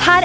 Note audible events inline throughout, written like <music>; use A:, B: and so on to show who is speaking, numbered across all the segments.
A: her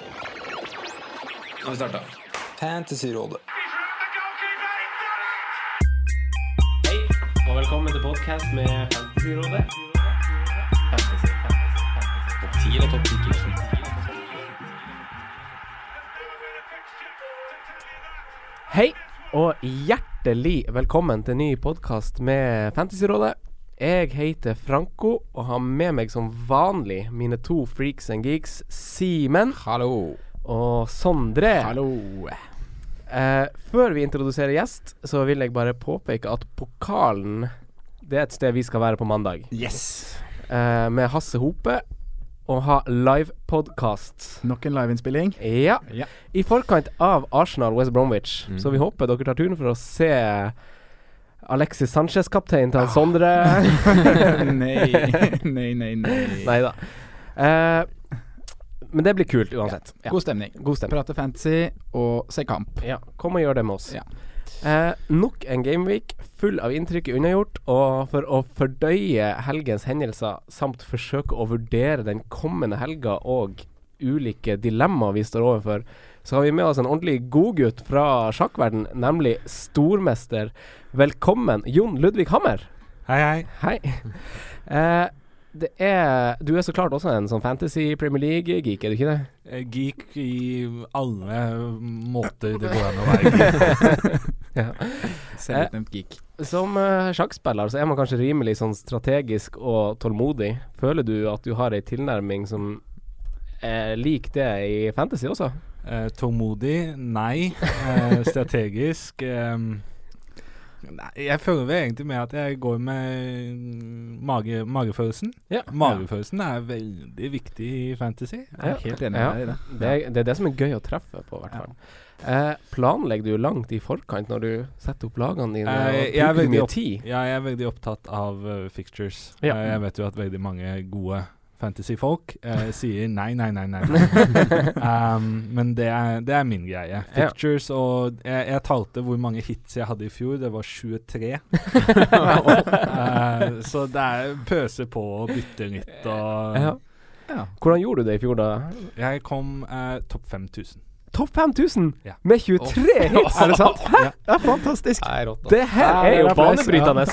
B: har vi starta. Fantasyrådet.
C: Hei, og velkommen til podcast med Fantasyrådet. Topp 10 eller topp 10 Hei, og hjertelig velkommen til en ny podcast med Fantasyrådet. Jeg heter Franco, og har med meg som vanlig mine to freaks and geeks, Simen
B: Hallo.
C: og Sondre. Eh, før vi introduserer gjest, så vil jeg bare påpeke at pokalen Det er et sted vi skal være på mandag.
B: Yes.
C: Eh, med Hasse Hope og ha livepodkast.
D: Nok en
C: <laughs>
D: liveinnspilling.
C: Ja.
B: Ja. Mm.
C: I forkant av Arsenal West Bromwich, så vi håper dere tar turen for å se Alexis Sanchez, kaptein til han Sondre.
B: <laughs>
C: <laughs>
D: nei, nei, nei. nei.
C: Nei da. Eh, men det blir kult uansett. Ja.
D: God stemning.
C: God stemning.
D: Prate fantasy og se kamp.
C: Ja, kom og gjør det med oss.
D: Ja.
C: Eh, nok en gameweek full av inntrykk unnagjort, og for å fordøye helgens hendelser samt forsøke å vurdere den kommende helga og ulike dilemmaer vi står overfor, så har vi med oss en ordentlig godgutt fra sjakkverden, nemlig stormester. Velkommen, Jon Ludvig Hammer.
B: Hei, hei.
C: Hei. Eh, det er, du er så klart også en sånn Fantasy Premier League-geek, er du ikke det?
B: Eh, Geek i alle måter det går an å være.
C: Eh.
D: Selvutnevnt geek.
C: Som eh, sjakkspiller så er man kanskje rimelig sånn strategisk og tålmodig. Føler du at du har ei tilnærming som er lik det i fantasy også?
B: Eh, tålmodig? Nei. Eh, strategisk? ehm, nei, jeg føler vel egentlig med at jeg går med mage, magefølelsen.
C: Ja.
B: Magefølelsen er veldig viktig i fantasy.
D: Jeg er helt enig med
C: Ja.
D: deg i det.
C: Det er, det er det som er gøy å treffe på, i hvert fall. Eh, planlegger du langt i forkant når du setter opp lagene dine?
B: Eh,
C: og
B: jeg
C: bruker
B: er
C: du
B: veldig
C: mye
B: opp-
C: tid?
B: Ja, jeg er veldig opptatt av eh, fixtures.
C: Ja.
B: Eh, jeg vet jo at veldig mange gode fantasyfolk eh,
C: <laughs>
B: sier nei, nei, nei, nei. nei. um, men det er, det er min greie.
C: Ja.
B: Fixtures og jeg, jeg talte hvor mange hits jeg hadde i fjor. Det var
C: <laughs>
B: 23. Eh, så det er pøse på og bytte nytt og
C: Ja.
D: Ja.
C: Hvordan gjorde du det i fjor, da?
B: Jeg kom eh, topp 5000.
C: Topp 5000
B: Ja.
C: med 23 hits, er det
B: <laughs>
C: sant? Hæ? <laughs> Det er fantastisk. Det her er jo
D: applaus, ja.
C: banebrytende.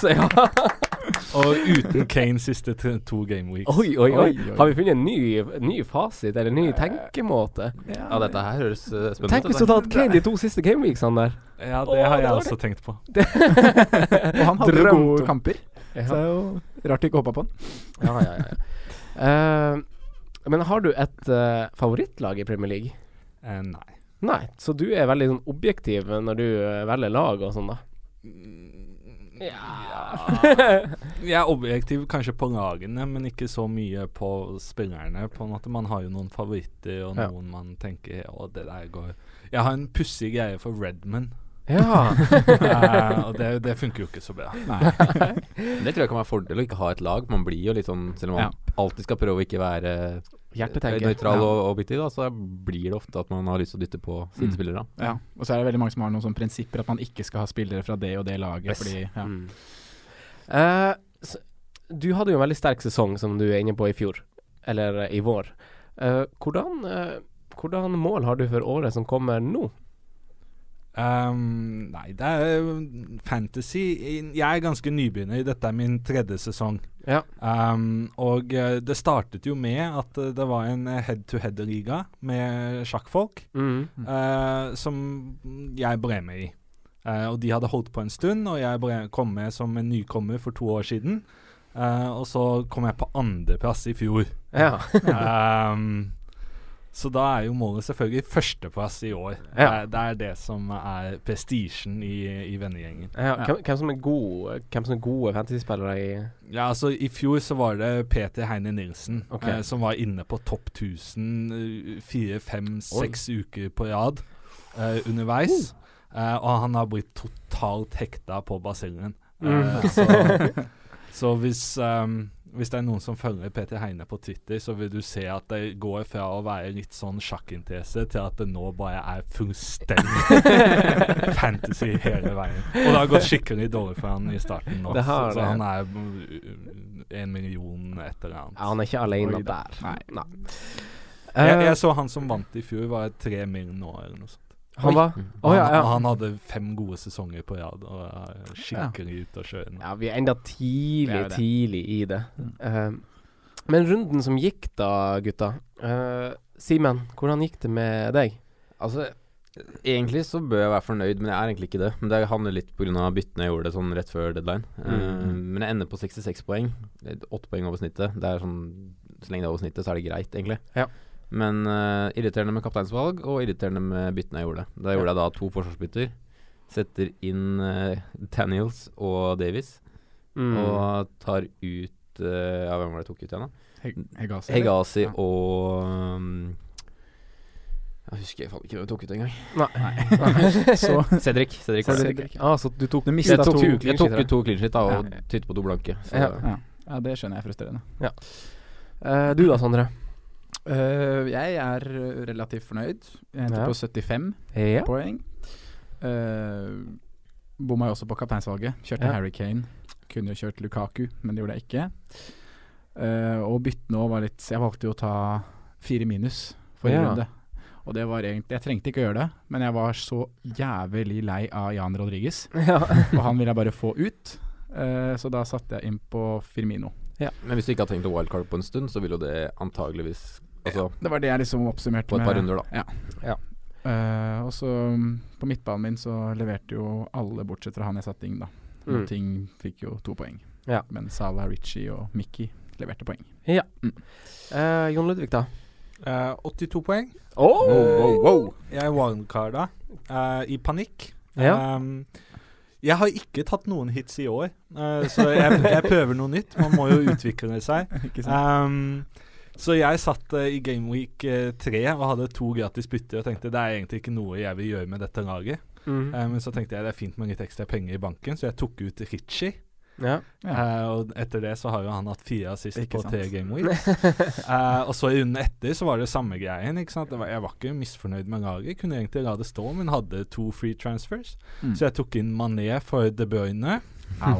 C: <laughs> Ja.
B: Og uten Kane siste t to game weeks.
C: Oi, oi, oi.
D: Oi, oi.
C: Har vi funnet en ny, ny fasit, eller en
B: Eh.
C: ny tenkemåte?
D: Ja,
E: dette her høres eh,
C: Tenk hvis du hadde hatt Kane de to siste gameweeksene der.
B: Ja, det
C: Å,
B: har
C: det
B: jeg
C: var
B: også tenkt på.
D: Og han hadde jo
C: Drømt om.
D: gode kamper, så det
C: Ja,
D: er jo rart du ikke hoppa på han.
C: ja, ja. ja. Eh, men har du et eh, favorittlag i Premier League?
B: Eh, nei.
C: Nei, så du er veldig sånn objektiv når du eh, velger lag og sånn, da.
B: Jeg er objektiv kanskje på lagene, men ikke så mye på spillerne. På en måte Man har jo noen favoritter og
C: Ja.
B: noen man tenker Å, det der går Jeg har en pussig greie for Redman, <laughs> Eh,
C: Ja.
B: og det, det funker jo ikke så bra.
E: Det tror jeg kan være en fordel å ikke ha et lag. Man blir jo litt sånn, selv om man alltid skal prøve å ikke være eh,
C: Hjertetenker.
E: nøytral og objektiv, da, så blir det ofte at man har lyst til å dytte på
C: Mm.
E: sidespillere.
D: Ja. Og så er det veldig mange som har noen sånne prinsipper at man ikke skal ha spillere fra det og det laget. Fordi, ja.
C: Mm. Eh, s- du hadde jo en veldig sterk sesong, som du er inne på i fjor, eller eh, i vår. Eh, hvordan, eh, hvordan mål har du for året som kommer nå?
B: Um, nei, det er um, fantasy. Jeg er ganske nybegynner. Dette er min tredje sesong.
C: Ja.
B: Um, og eh, det startet jo med at eh, det var en eh, head-to-head-liga med sjakkfolk.
C: Mm.
B: eh, som jeg ble med i. Eh, Eh, og de hadde holdt på en stund, og jeg bare kom med som en nykommer for to år siden. Eh, og så kom jeg på andreplass i
C: <laughs>
B: fjor.
C: Ja.
B: Ehm, så da er jo målet selvfølgelig førsteplass i år.
C: Ja.
B: Eh, Det er det som er prestisjen i, i vennegjengen.
C: Ja, <laughs> hvem, hvem som er gode, hvem som er gode fantasyspillere i
B: Ja, altså I fjor så var det Peter Heine Nilsen
C: Ok.
B: eh, som var inne på topp 1000 eh, fire, fem, seks uker på rad eh, underveis. Eh, og han har blitt totalt hekta på basillen. Eh,
C: Mm. <laughs>
B: så, så hvis ehm, hvis det er noen som følger Peter Heine på Twitter, så vil du se at det går fra å være litt sånn sjakkinteresse til at det nå bare er
C: <laughs>
B: fullstendig fantasy hele veien. Og det har gått skikkelig dårlig for han i starten nå.
C: Det har
B: så,
C: det.
B: så han er mm, en million et eller annet.
C: Ja, han er ikke alene
D: Oi, da.
C: der.
D: Nei.
C: Eh,
B: jeg, jeg så han som vant i fjor, var tre mil nå eller noe sånt.
C: Han var Å
B: han,
C: ja, ja.
B: han hadde fem gode sesonger på rad og er skikkelig ute å kjøre nå.
C: Ja, vi er enda tidlig,
D: Vi er jo det.
C: tidlig i det. Eh, men runden som gikk da, gutta. eh, Simen, hvordan gikk det med deg?
E: Altså, egentlig så bør jeg være fornøyd, men jeg er egentlig ikke det. Men det handler litt pga. byttene jeg gjorde det sånn rett før deadline.
C: Mm,
E: Eh, men jeg ender på 66 poeng. Det er Åtte poeng over snittet. Det er sånn, så lenge det er over snittet, så er det greit, egentlig.
C: Ja.
E: Men eh, irriterende med kapteinsvalg, og irriterende med byttene jeg gjorde. Da gjorde jeg da to forsvarsbytter. Setter inn eh, Daniels og Davies,
C: Mm.
E: og tar ut eh, Ja, hvem var det jeg tok ut igjen, da?
D: Hegasi.
E: Hegasi
D: Ja.
E: og um, Jeg husker faen ikke hvem jeg tok ut engang.
D: <laughs> Så
E: Cedric. Cedric, var det.
D: Cedric.
C: Ah, så du tok
D: Du mistet
E: Jeg tok,
D: to
E: to,
C: clean
E: jeg tok
C: sheetere.
E: ut to clean sheet da, og
D: Ja.
E: tytte på to blanke. Så.
C: Ja.
D: ja. ja, det skjønner jeg er frustrerende.
C: Eh, du da, Sondre?
D: Øh, jeg er øh, relativt fornøyd. Jeg endte
C: Ja.
D: på 75
C: Ja.
D: poeng. Uh, bomma jo også på kapteinsvalget. Kjørte
C: Ja.
D: Harry Kane. Kunne jo kjørt Lukaku, men det gjorde jeg ikke. Eh, og byttene òg var litt Jeg valgte jo å ta fire minus forrige
C: Ja.
D: runde. Og det var egentlig Jeg trengte ikke å gjøre det, men jeg var så jævlig lei av Jan Rodriguez.
C: <laughs> ja.
D: og han ville jeg bare få ut, Eh, så da satte jeg inn på Firmino.
E: Men hvis du ikke har tenkt å wildcard på en stund, så vil jo det antageligvis Altså,
D: Det var det jeg liksom oppsummerte
E: på et par runder, da.
D: Eh, og så mm, på midtbanen min så leverte jo alle bortsett fra han jeg satte inn, da.
C: Mm.
D: Ting fikk jo to poeng.
C: Ja.
D: Men Salah, Ritchie og Mickey leverte poeng.
C: Eh, Jon Ludvig, da?
B: Eh, 82 poeng. Eh,
C: Oh!
B: Jeg wildcarda uh, i panikk.
C: Ja.
B: Ehm, jeg har ikke tatt noen hits i år, eh, så jeg, jeg prøver noe nytt. Man må jo utvikle seg.
D: <laughs> Ikke
B: Ehm, så jeg satt eh, i Gameweek 3 og hadde to gratis bytter og tenkte det er egentlig ikke noe jeg vil gjøre med dette laget.
C: Mhm.
E: Mm.
B: Eh, men så tenkte jeg det er fint med litt ekstra penger i banken, så jeg tok ut Ritchie.
C: Ja.
B: Eh, og etter det så har jo han hatt fire assist
D: Ikke
B: på
D: sant.
B: tre Game Weeks.
C: <laughs>
B: Eh, og så i runden etter så var det samme greien. ikke sant? Det var, jeg var ikke misfornøyd med laget. Kunne egentlig la det stå, men hadde to free transfers.
D: Mm.
B: Så jeg tok inn Mané for De
C: <laughs>
B: Bruyne.
D: Au.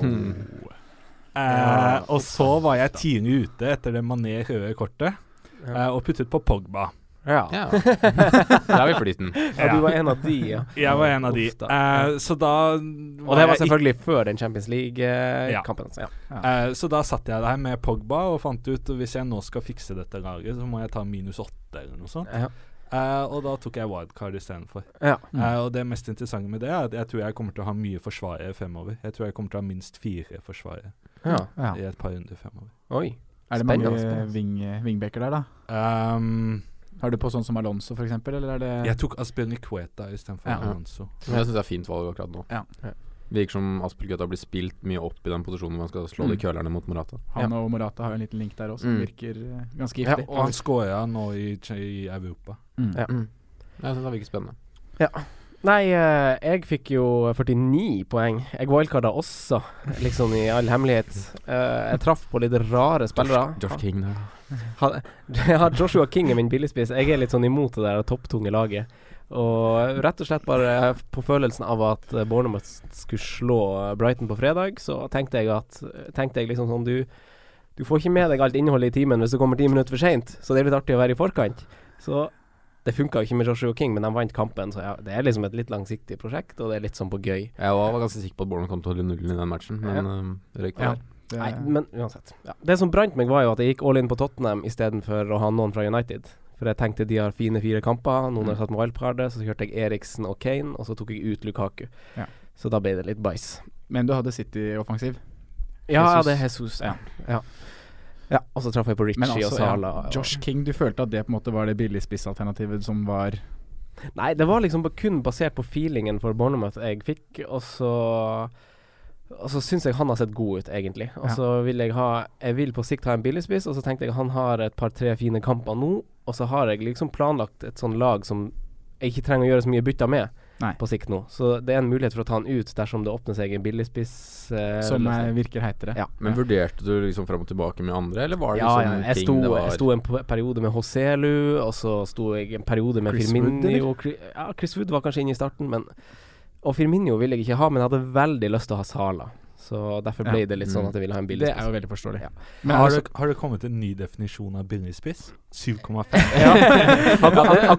B: Eh, og så var jeg tidlig ute etter det Mané røde kortet, eh, og puttet på Pogba.
C: ja.
E: Ja. Da er vi i flyten.
C: Ja, du var en av de, ja.
B: Jeg var en av de.
C: Uff da.
B: Eh, så da
C: Og det var
B: jeg ikke-
C: selvfølgelig før den Champions League-kampen. Ja.
B: Eh, så da satt jeg der med Pogba og fant ut hvis jeg nå skal fikse dette laget, så må jeg ta minus åtte eller noe sånt.
C: Ja.
B: Eh, og da tok jeg wildcard istedenfor.
C: Ja.
B: Eh,
D: Mm.
B: og det mest interessante med det er at jeg tror jeg kommer til å ha mye forsvarere fremover. Jeg tror jeg kommer til å ha minst fire forsvarere
C: ja.
D: Ja.
B: i et par runder fremover.
C: Oi.
D: Er det
C: Spennende,
D: mange
C: spennende.
D: wing, eh, wingbacker der, da?
B: Ehm,
D: Har du på sånn som Alonso, for eksempel, eller er det
B: jeg tok Aspelin Queta istedenfor
D: Ja.
B: Alonso.
E: Men jeg syns det er fint valg akkurat nå.
D: Ja.
C: Ja.
E: Virker som Aspelgøtta blir spilt mye opp i den posisjonen hvor han skal slå de
D: Mm.
E: kølerne mot Morata.
D: Han og Morata har jo en liten link der også, som
E: Mm.
D: virker eh, ganske
C: Ja,
D: giftig.
B: Og han scora nå i, i Europa.
D: Mm.
C: Ja.
E: Jeg syns det virker spennende.
C: Nei, eh, jeg fikk jo 49 poeng. Jeg wildcarda også, liksom i all hemmelighet. Eh, jeg traff på litt rare spillere.
E: Josh King der.
C: Han- <laughs> Ja, Joshua King er min billigspiss. Jeg er litt sånn imot det der topptunge laget. Og rett og slett bare på følelsen av at eh, Bournemouth skulle slå eh, Brighton på fredag, så tenkte jeg at Tenkte jeg liksom sånn du Du får ikke med deg alt innholdet i timen hvis du kommer ti minutter for seint, så det er litt artig å være i forkant. Så det funka jo ikke med Joshua King, men de vant kampen, så ja, det er liksom et litt langsiktig prosjekt, og det er litt sånn på gøy.
E: Jeg var var ganske sikker på at Bournemouth kom til å holde nullen i den matchen, men um, det røyk på
D: Ja.
E: der.
D: Det,
C: Nei, men uansett. Ja. Det som brant meg, var jo at jeg gikk all in på Tottenham istedenfor å ha noen fra United. For jeg tenkte de har
D: Mm.
C: fine fire kamper, noen har satt med wildcardet, så kjørte jeg Eriksen og Kane, og så tok jeg ut Lukaku.
D: Ja.
C: Så da ble det litt bæsj.
D: Men du hadde City-offensiv.
C: Ja,
D: Jesus.
C: ja, det er Jesus. Ja.
D: Ja.
C: Ja. ja. Og så traff jeg på Richie
D: Men altså,
C: og Sala.
D: ja,
C: og-
D: Josh King, du følte at det på en måte var det billige spissalternativet som var
C: Nei, det var liksom ba- kun basert på feelingen for Bournemouth jeg fikk, og så og så syns jeg han har sett god ut, egentlig. Og
D: Ja.
C: så vil jeg ha Jeg vil på sikt ha en billigspiss, og så tenkte jeg han har et par-tre fine kamper nå, og så har jeg liksom planlagt et sånn lag som jeg ikke trenger å gjøre så mye bytter med
D: Nei.
C: på sikt nå. Så det er en mulighet for å ta han ut dersom det åpner seg en billigspiss. eh,
D: som
C: løsning.
D: eh, virker heitere.
C: Ja.
E: Men vurderte du liksom fram og tilbake med andre, eller var det
C: Ja, ja.
E: liksom
C: Jeg
E: ting
C: sto,
E: det var
C: jeg sto en p- periode med Hoselu, og så sto jeg en periode med
D: Chris Wood,
C: Firmino.
D: eller?
C: og Chri- ja, Chris Wood var kanskje inne i starten, men Og Firmino ville jeg ikke ha, men jeg hadde veldig lyst til å ha Sala. Så derfor ble
D: Ja.
C: det litt sånn at jeg ville ha en billig
D: Det er jo
C: spiss.
D: veldig forståelig.
C: Ja.
D: Men
B: har,
D: altså,
B: det, har det kommet en ny definisjon av billigspiss? 7,5? <laughs>
C: Ja. Han-
E: Ja, det,
C: han-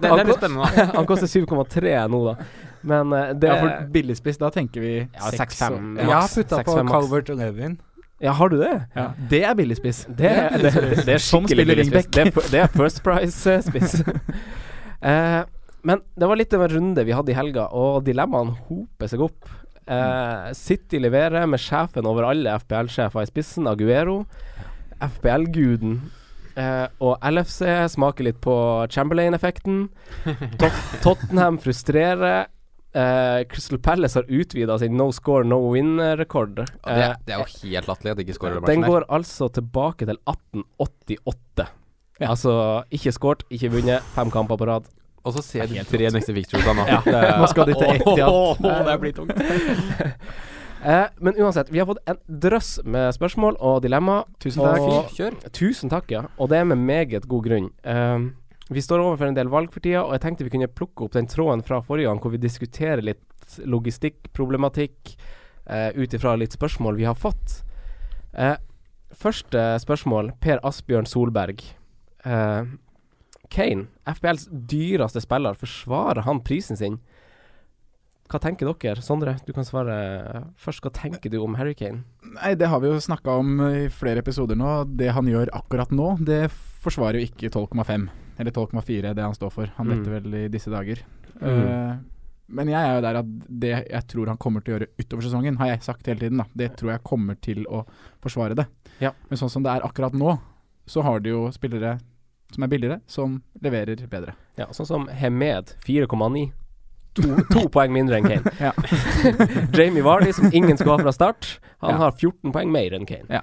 E: det, det er
C: han-
E: litt spennende, da.
C: <laughs> Han koster 7,3 nå, da. Men eh, det
D: ja, for billigspiss, da tenker vi
C: Ja,
D: seks
C: 6-5
D: og-
C: maks.
B: Jeg har putta på
C: 6-5 maks.
B: Calvert og Levin.
C: Ja, har du det?
D: Ja. Det er billigspiss.
C: Det, er- <laughs> det, det, det er
D: Som
C: skikkelig
D: spiller
C: billig spiss.
D: wingback.
C: Det, er f- det er First Price-spiss. Eh, men det var litt av en runde vi hadde i helga, og dilemmaene hoper seg opp. Eh, City leverer med sjefen over alle FPL-sjefer i spissen, Aguero. FPL-guden. Eh, og LFC smaker litt på Chamberlain-effekten. Tot Tottenham frustrerer. Eh, Crystal Palace har utvida sin no score, no Eh, win-rekord.
E: Ja, det, det er jo helt latterlig at de ikke scorer den
C: Den
E: matchen der.
C: går altså tilbake til 1888. Altså ikke skåret, ikke vunnet, fem kamper på rad.
E: Og så ser de tre neste victories
B: <laughs>
E: da nå. Det er-
D: Nå skal de til
C: <laughs>
D: Etihad.
C: det blir tungt. eh, men uansett, vi har fått en drøss med spørsmål og dilemma.
D: Tusen takk.
C: Og,
E: Kjør.
C: tusen takk, ja. Og det er med meget god grunn. Eh, vi står overfor en del valg for tida, og jeg tenkte vi kunne plukke opp den tråden fra forrige gang hvor vi diskuterer litt logistikk, problematikk, eh, ut ifra litt spørsmål vi har fått. Eh, første spørsmål, Per Asbjørn Solberg. Eh, Kane, FBLs dyreste spiller, forsvarer han prisen sin? Hva tenker dere? Sondre, du kan svare først. Hva tenker du om Harry Kane?
D: Nei, det har vi jo snakka om i flere episoder nå. Det han gjør akkurat nå, det forsvarer jo ikke 12,5. Eller 12,4, det han står for. Han
C: Mm.
D: detter vel i disse dager.
C: Mm.
D: Eh, men jeg er jo der at det jeg tror han kommer til å gjøre utover sesongen, har jeg sagt hele tiden, da. Det tror jeg kommer til å forsvare det.
C: Ja.
D: Men sånn som det er akkurat nå, så har du jo spillere som er billigere, som leverer bedre.
C: Ja, sånn som Hemed, 4,9. To, <laughs> to poeng mindre enn Kane.
D: Ja.
C: Jamie Vardy, som ingen skulle ha fra start, han
D: Ja.
C: har 14 poeng mer enn Kane.
D: Ja.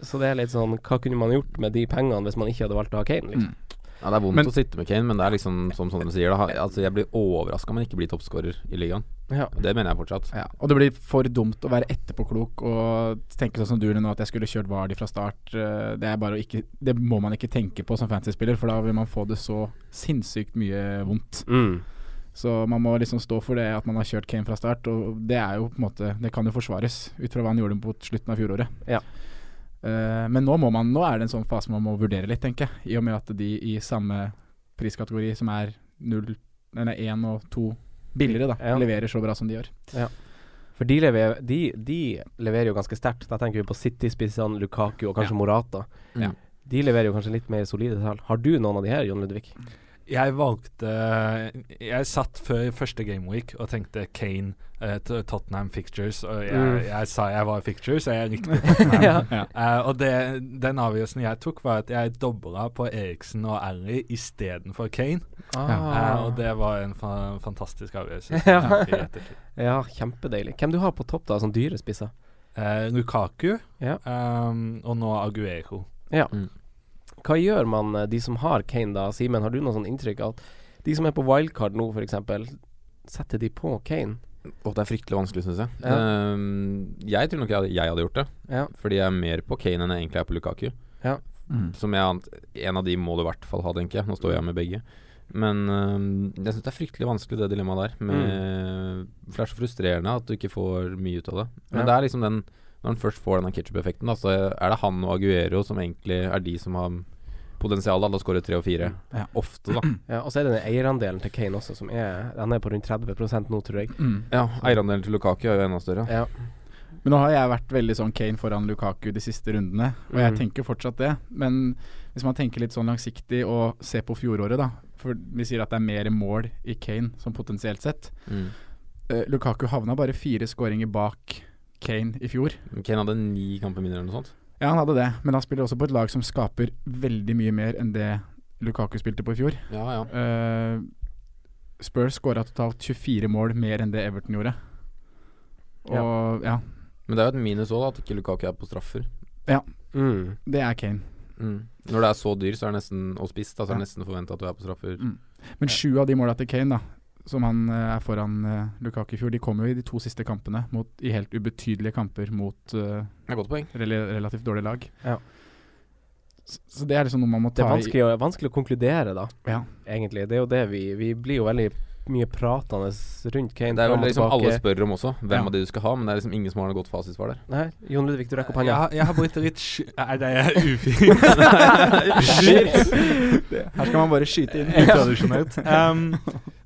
C: Så det er litt sånn Hva kunne man gjort med de pengene hvis man ikke hadde valgt å ha Kane? Liksom?
E: Ja, det er vondt
D: Men-
E: å sitte med Kane, men det er liksom som Sondre sier. Da, ha- altså, jeg blir overraska om han ikke blir toppskårer i ligaen.
C: Ja.
E: Og Det mener jeg fortsatt.
D: Ja, og det blir for dumt å være etterpåklok og tenke sånn som du nå, at jeg skulle kjørt Vardy fra start. Eh, Det, er bare å ikke, det må man ikke tenke på som fantasy-spiller, for da vil man få det så sinnssykt mye vondt.
C: Mm.
D: Så man må liksom stå for det at man har kjørt Kane fra start, og det er jo på en måte Det kan jo forsvares ut fra hva han gjorde mot slutten av fjoråret.
C: Ja.
D: Eh, men nå, må man, nå er det en sånn fase man må vurdere litt, tenker jeg. I og med at de i samme priskategori, som er null, eller én og to billigere, da,
C: Ja.
D: leverer så bra som de gjør.
C: For de leverer, de, de leverer jo ganske sterkt. Da tenker vi på City-spissene, Lukaku og kanskje Morata.
E: Ja.
C: De leverer jo kanskje litt mer solide tall. Har du noen av de her, Jon Ludvig?
B: Jeg valgte Jeg satt før første gameweek og tenkte Kane eh, til Tottenham Fictures. Og jeg,
C: Mm.
B: jeg sa jeg var Fictures, og jeg
E: <laughs>
B: likte Tottenham.
D: Ja.
B: Eh, og det, den avgjørelsen jeg tok, var at jeg dobla på Eriksen og Ally istedenfor Kane.
C: Ah,
B: Eh, og det var en fa fantastisk avgjørelse. som
C: <laughs> Ja.
B: jeg fikk i ettertid.
C: ja, kjempedeilig. Hvem du har på topp, da, som dyrespisser?
B: Eh, Lukaku
C: Ja.
B: ehm, og nå Aguero.
C: Hva gjør man, eh, de som har Kane da? Simen, har du noe sånn inntrykk av at de som er på wildcard nå, f.eks., setter de på Kane?
E: Og det er fryktelig vanskelig, syns jeg.
C: Ja.
E: Ehm, jeg tror nok jeg, hadde- jeg hadde gjort det.
C: Ja.
E: Fordi jeg er mer på Kane enn jeg egentlig er på Lukaku.
C: Ja.
D: Mm.
E: Som jeg, ant- en av de må du i hvert fall ha, tenker jeg. Nå står jeg med begge. Men ehm, jeg syns det er fryktelig vanskelig, det dilemmaet der. Med, For det er så frustrerende at du ikke får mye ut av det. Men
C: Mm. Ja.
E: det er liksom den Når han først får denne ketsjup-effekten, da, så er det han og Aguero som egentlig er de som har potensial da, til å skåre tre og fire.
D: Ja.
E: Ofte, da.
C: Ja, og så er det den eierandelen til Kane også, som er Han er på rundt 30 nå, tror jeg.
E: Ja, Eierandelen til Lukaku er jo enda større.
C: Ja.
D: Men nå har jeg vært veldig sånn Kane foran Lukaku de siste rundene, og jeg
C: Mhm.
D: tenker fortsatt det. Men hvis man tenker litt sånn langsiktig og ser på fjoråret, da. For vi sier at det er mer mål i Kane som potensielt sett.
E: Mm.
D: eh, Lukaku havna bare fire skåringer bak Kane i fjor.
E: Kane hadde ni kamper mindre eller noe sånt.
D: Ja, han hadde det, men han spiller også på et lag som skaper veldig mye mer enn det Lukaku spilte på i fjor.
E: Ja, ja.
D: Eh, Spurs skåra totalt 24 mål mer enn det Everton gjorde. Og ja,
E: Men det er jo et minus òg, at ikke Lukaku er på straffer.
C: Mm.
D: det er Kane.
E: Når det er så dyr så er det nesten, og spiss, da, så er det nesten forventa at du er på straffer.
D: Men sju av de måla til Kane, da som han eh, er foran eh, Lukaku i fjor, de kom jo i de to siste kampene mot, i helt ubetydelige kamper mot eh,
E: Det er godt poeng.
D: rel relativt dårlige lag.
C: Ja.
D: Så, så det er liksom noe man må
C: Det
D: ta
C: er vanskelig å, vanskelig å konkludere, da,
D: i. Ja.
C: egentlig. Det er jo det vi Vi blir jo veldig mye pratende rundt Kane.
E: Det er
C: fram
E: vel
C: og
E: liksom alle
C: tilbake.
E: spør om også, hvem
D: Ja.
E: av de du skal ha, men det er liksom ingen som har noe godt fasitsvar der.
C: Nei, Jon Ludvig, du rekker opp
B: Jeg,
C: hånda.
B: har- jeg har blitt litt sky... Nei, det er ufint. <laughs>
D: <laughs> Her skal man bare <laughs> skyte inn.
B: Utradisjonelt. <laughs> Um,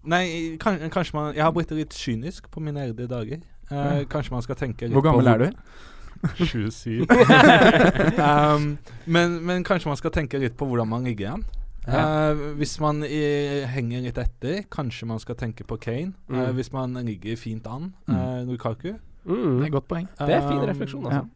B: nei, kan, kanskje man Jeg har blitt litt kynisk på mine eldre dager. Eh, kanskje man skal tenke litt
D: Hvor gammel
B: på
D: er du?
B: <laughs> 27. <laughs> um, men, men kanskje man skal tenke litt på hvordan man ligger an. Eh, hvis man eh, henger litt etter, kanskje man skal tenke på Kane. Eh,
C: Mm.
B: hvis man ligger fint an, eh, Lukaku.
D: Det
C: Mm.
D: er et godt poeng.
C: Det er fin
B: Um,
C: refleksjon, altså.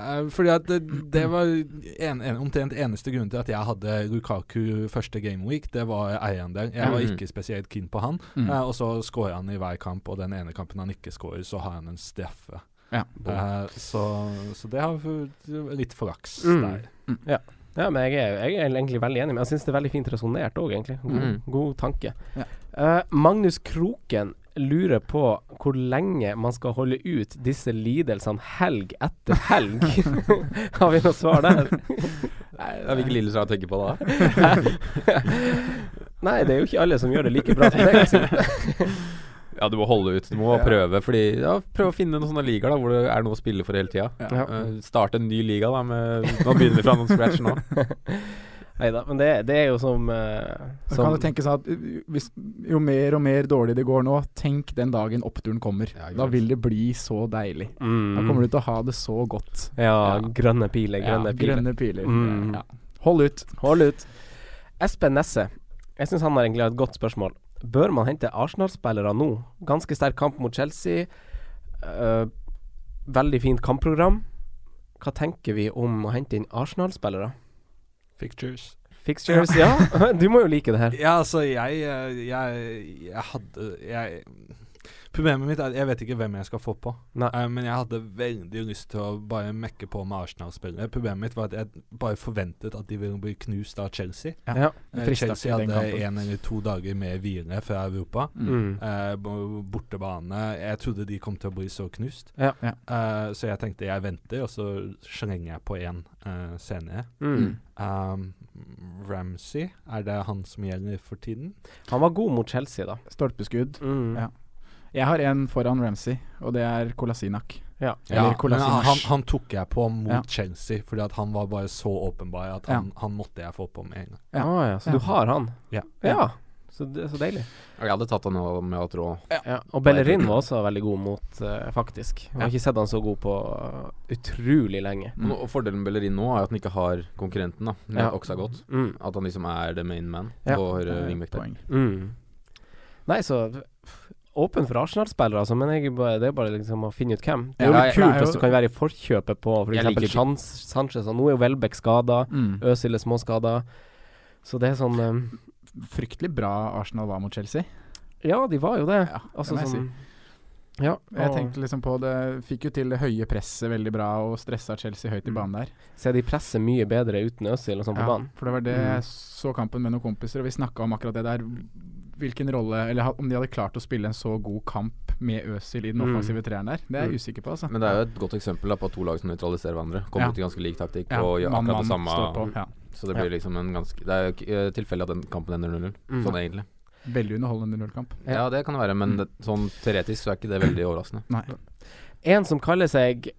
B: Eh, fordi at det, det var en, en, omtrent eneste grunnen til at jeg hadde Lukaku første gameweek. Det var eieren der. Jeg var
E: Mhm.
B: ikke spesielt keen på han.
D: Mm.
B: Eh, og så skårer han i hver kamp, og den ene kampen han ikke skårer, så har han en straffe.
D: Ja.
B: Eh, så, så det har vært litt flaks
C: Mm.
B: der.
C: Ja, men jeg er, jeg er egentlig veldig enig, men jeg syns det er veldig fint resonnert òg, egentlig. God,
E: Mm.
C: god tanke.
D: Ja.
C: Eh, Magnus Kroken lurer på hvor lenge man skal holde ut disse lidelsene helg etter helg. <laughs> Har vi noe svar der? <laughs>
E: Ja, Hvilke lille skal jeg tenke på da?
C: Nei, det er jo ikke alle som gjør det like bra som deg. altså. Aksel.
E: Ja, du må holde ut. Du må prøve. Fordi, ja, prøve å finne noen sånne ligaer da, hvor det er noe å spille for hele tida.
C: Ja.
E: Eh, starte en ny liga, da. Med, nå begynner vi fra noen scratch nå.
C: Neida, men det, det er jo som, eh,
D: Da
C: som
D: kan du tenke sånn at uh, hvis, jo mer og mer dårlig det går nå, tenk den dagen oppturen kommer.
E: Ja, ikke
D: da
E: sant.
D: vil det bli så deilig.
C: mm,
D: Da kommer du til å ha det så godt.
C: Ja, grønne piler, grønne
D: ja,
C: piler.
D: grønne piler.
C: Mm.
D: Ja. Hold ut.
C: Hold ut. Espen Nesse. Jeg syns han har egentlig et godt spørsmål. Bør man hente Arsenal-spillere nå? Ganske sterk kamp mot Chelsea. Eh, veldig fint kampprogram. Hva tenker vi om å hente inn Arsenal-spillere?
B: Pictures.
C: Fixtures, ja. <laughs> Du må jo like det her.
B: Ja, altså, jeg eh, Jeg, jeg hadde jeg, Problemet mitt er at jeg vet ikke hvem jeg skal få på.
C: Nei.
B: Eh, men jeg hadde veldig lyst til å bare mekke på med Arsenal-spillere. Problemet mitt var at jeg bare forventet at de ville bli knust av Chelsea.
C: Ja.
B: Eh,
D: Frista
B: Chelsea
D: ikke den
B: hadde
D: kampen.
B: én eller to dager med hvile fra Europa.
C: Mm.
B: Eh, b- bortebane Jeg trodde de kom til å bli så knust.
C: Ja.
D: Ja.
B: Eh, så jeg tenkte jeg venter, og så slenger jeg på én eh, senere.
C: Mm.
B: Um, Ramsey, er det han som gjelder for tiden?
C: Han var god mot Chelsea, da.
D: Stolpeskudd.
C: Mm.
D: Ja. Jeg har en foran Ramsey, og det er Kolasinak.
C: Ja.
D: Eller
B: men
D: Kolasinac.
B: han, han tok jeg på mot
D: Ja.
B: Chelsea, fordi at han var bare så åpenbar at han, han måtte jeg få på med en gang.
D: Ja.
C: Ah, ja. Så du har han?
B: Ja.
C: ja. Så, det, så deilig.
E: Og Jeg hadde tatt han nå med at råd.
C: Ja, og Bellerin var også veldig god mot, eh, faktisk. Jeg har ikke sett han så god på eh, utrolig lenge.
E: Og nå- og fordelen med Bellerin nå er at han ikke har konkurrenten, da. Med
C: Mm. Ja.
E: Oxagot.
C: Mm.
E: At han liksom er the main man
C: Ja.
E: på høyre
D: Et
E: vingbekk eh, der.
D: Eh, poeng.
C: Mm. Nei, så f- åpen for Arsenal-spillere, altså, men jeg, er bare- det er bare liksom å finne ut hvem. Det er jo
E: Ja,
C: litt
E: jeg-
C: kult
D: jeg er jo-
C: hvis du kan være i forkjøpet på
E: Jeg liker ikke-
C: f.eks. Sans Sanchez, og nå er jo Welbeck skada,
D: Mm.
C: Øzil er småskada. Så det er sånn um,
D: Fryktelig bra Arsenal var mot Chelsea.
C: Ja, de var jo det.
D: Ja,
C: altså
D: det må jeg
C: sånn Ja.
D: Jeg
C: og
D: tenkte liksom på det Fikk jo til det høye presset veldig bra og stressa Chelsea
C: Mm.
D: høyt i banen der.
C: Se, de presser mye bedre uten Øzil og sånn på
D: Ja,
C: banen.
D: For det var det
C: Mm.
D: jeg så kampen med noen kompiser, og vi snakka om akkurat det der. Hvilken rolle Eller ha- om de hadde klart å spille en så god kamp med Øzil i den
C: Mm.
D: offensive treeren der. Det er
C: Mm.
D: jeg usikker på, altså.
E: Men det er jo et godt eksempel da, på to lag som nøytraliserer hverandre. Kommer
D: Ja.
E: ut i ganske lik taktikk
D: Ja,
E: og gjør
D: mann,
E: akkurat det
D: mann står på.
E: samme.
D: Ja.
E: Så det blir liksom en ganske Det er jo ikke- eh, tilfeldig at den kampen ender 0-0,
C: Mm.
E: sånn egentlig.
D: Veldig underholdende nullkamp.
E: Ja. det kan det være, men det, sånn teoretisk så er ikke det veldig
C: <laughs>
E: overraskende.
D: Nei.
C: En som kaller seg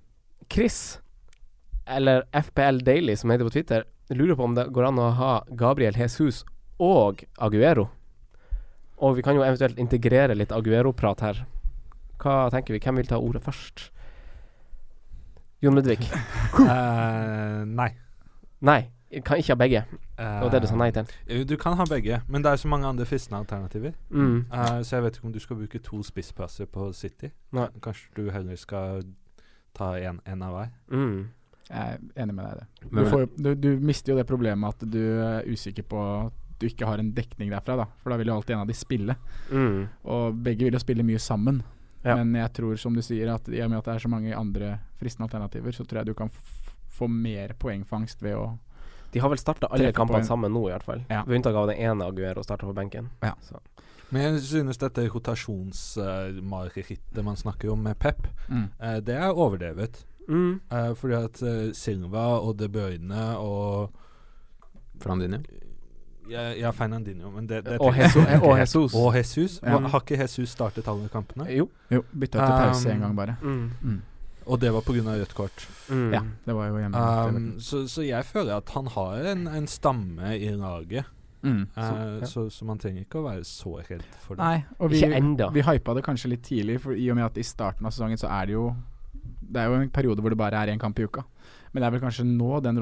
C: Chris, eller FPL Daily, som heter på Twitter, lurer på om det går an å ha Gabriel Jesus og Aguero. Og vi kan jo eventuelt integrere litt Aguero-prat her. Hva tenker vi? Hvem vil ta ordet først?
D: <laughs>
C: Jon Ludvig?
B: Eh, nei.
C: Nei. Jeg kan ikke ha begge. Det var det du sa nei til.
D: Ah.
B: Eh, Du kan ha begge, men det er så mange andre
C: <laughs>
B: fristende alternativer.
C: Mm.
B: Eh, så jeg vet ikke om du skal bruke to spissplasser på City.
C: Nei.
B: Kanskje du heller skal ta en, en av hver.
C: Mm.
D: Jeg er enig med deg i det.
E: Men-
D: Du, får, jo- du, du mister jo det problemet at du er usikker på at du ikke har en dekning derfra, da. For da vil jo alltid en av de spille.
C: Mm.
D: Og begge vil jo spille mye sammen.
C: Ja.
D: Men jeg tror, som du sier, at i og med at det er så mange andre fristende alternativer, så tror jeg du kan f få mer poengfangst ved å
C: De har vel starta alle
D: Treffer
C: kampene
D: poeng.
C: sammen nå, i hvert fall.
D: Ja.
C: Ved unntak av den ene Aguero starta på benken.
D: Ja.
C: Så.
B: Men jeg synes dette rotasjonsmarerittet man snakker om med Pep,
D: Mm.
B: eh, det er overdrevet.
C: Mm.
B: Eh, fordi at eh, Silva og De Bruyne og Eh,
E: Fernandinho.
B: Ja, ja Fernandinho, men det, det
C: Og, Jesu, og Jesus. Mm.
B: Og Jesus.
D: Ja.
B: Hva- Har ikke Jesus startet alle kampene?
C: Jo.
D: Jo, bytte til pause
B: Um,
D: en gang, bare.
C: Mm.
B: Og det var pga. rødt kort.
C: Mm.
D: Ja, det var jo hjemme.
B: Um, så, så jeg føler at han har en, en stamme i laget,
D: mm.
B: eh, så,
C: ja.
B: så, man trenger ikke å være så redd for det.
D: Nei, og vi,
C: Ikke enda.
D: vi hypa det kanskje litt tidlig, for i og med at i starten av sesongen så er det jo Det er jo en periode hvor det bare er én kamp i uka. Men det er vel kanskje nå den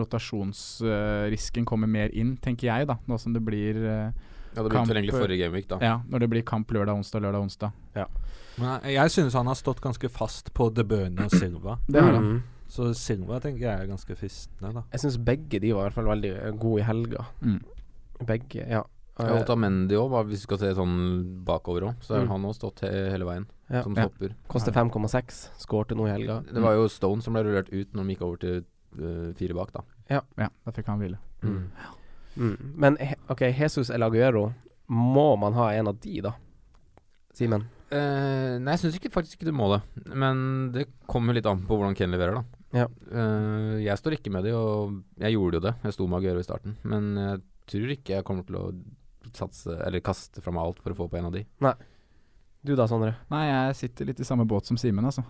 D: rotasjonsrisken kommer mer inn, tenker jeg, da. Nå som det blir eh,
E: Ja, det
D: Kamp-
E: begynte vel egentlig forrige gameweek, da.
D: Ja, når det blir kamp lørdag, onsdag, lørdag, onsdag.
B: Men eh, jeg- jeg synes han har stått ganske fast på De Bruyne og Silva.
D: Det har han.
C: Mm.
B: Så Silva tenker jeg er ganske fristende, da.
C: Jeg syns begge de var i hvert fall veldig eh, gode i helga.
D: Mm.
C: Begge, ja. Eh,
E: Ja, og Otamendi òg, hvis du skal se sånn bakover òg. Så har
C: Mm.
E: han òg stått he hele veien,
C: Ja.
E: som
D: Ja.
E: stopper.
C: Koster 5,6. Skårte nå i helga.
E: Det var jo Stone som ble rullert ut når de gikk over til øh, fire bak, da.
D: Ja, da fikk han hvile.
C: Mm. Mm. Men he- OK, Jesus eller Aguero, må man ha en av de, da? Simen?
E: Eh, nei, jeg syns ikke, faktisk ikke du må det. Men det kommer jo litt an på hvordan Ken leverer, da.
C: Ja.
E: Eh, jeg står ikke med de, og jeg gjorde jo det. Jeg sto med Aguero i starten. Men jeg tror ikke jeg kommer til å satse, eller kaste fra meg alt for å få på en av de.
C: Du da, Sondre?
D: Nei, jeg sitter litt i samme båt som Simen, altså.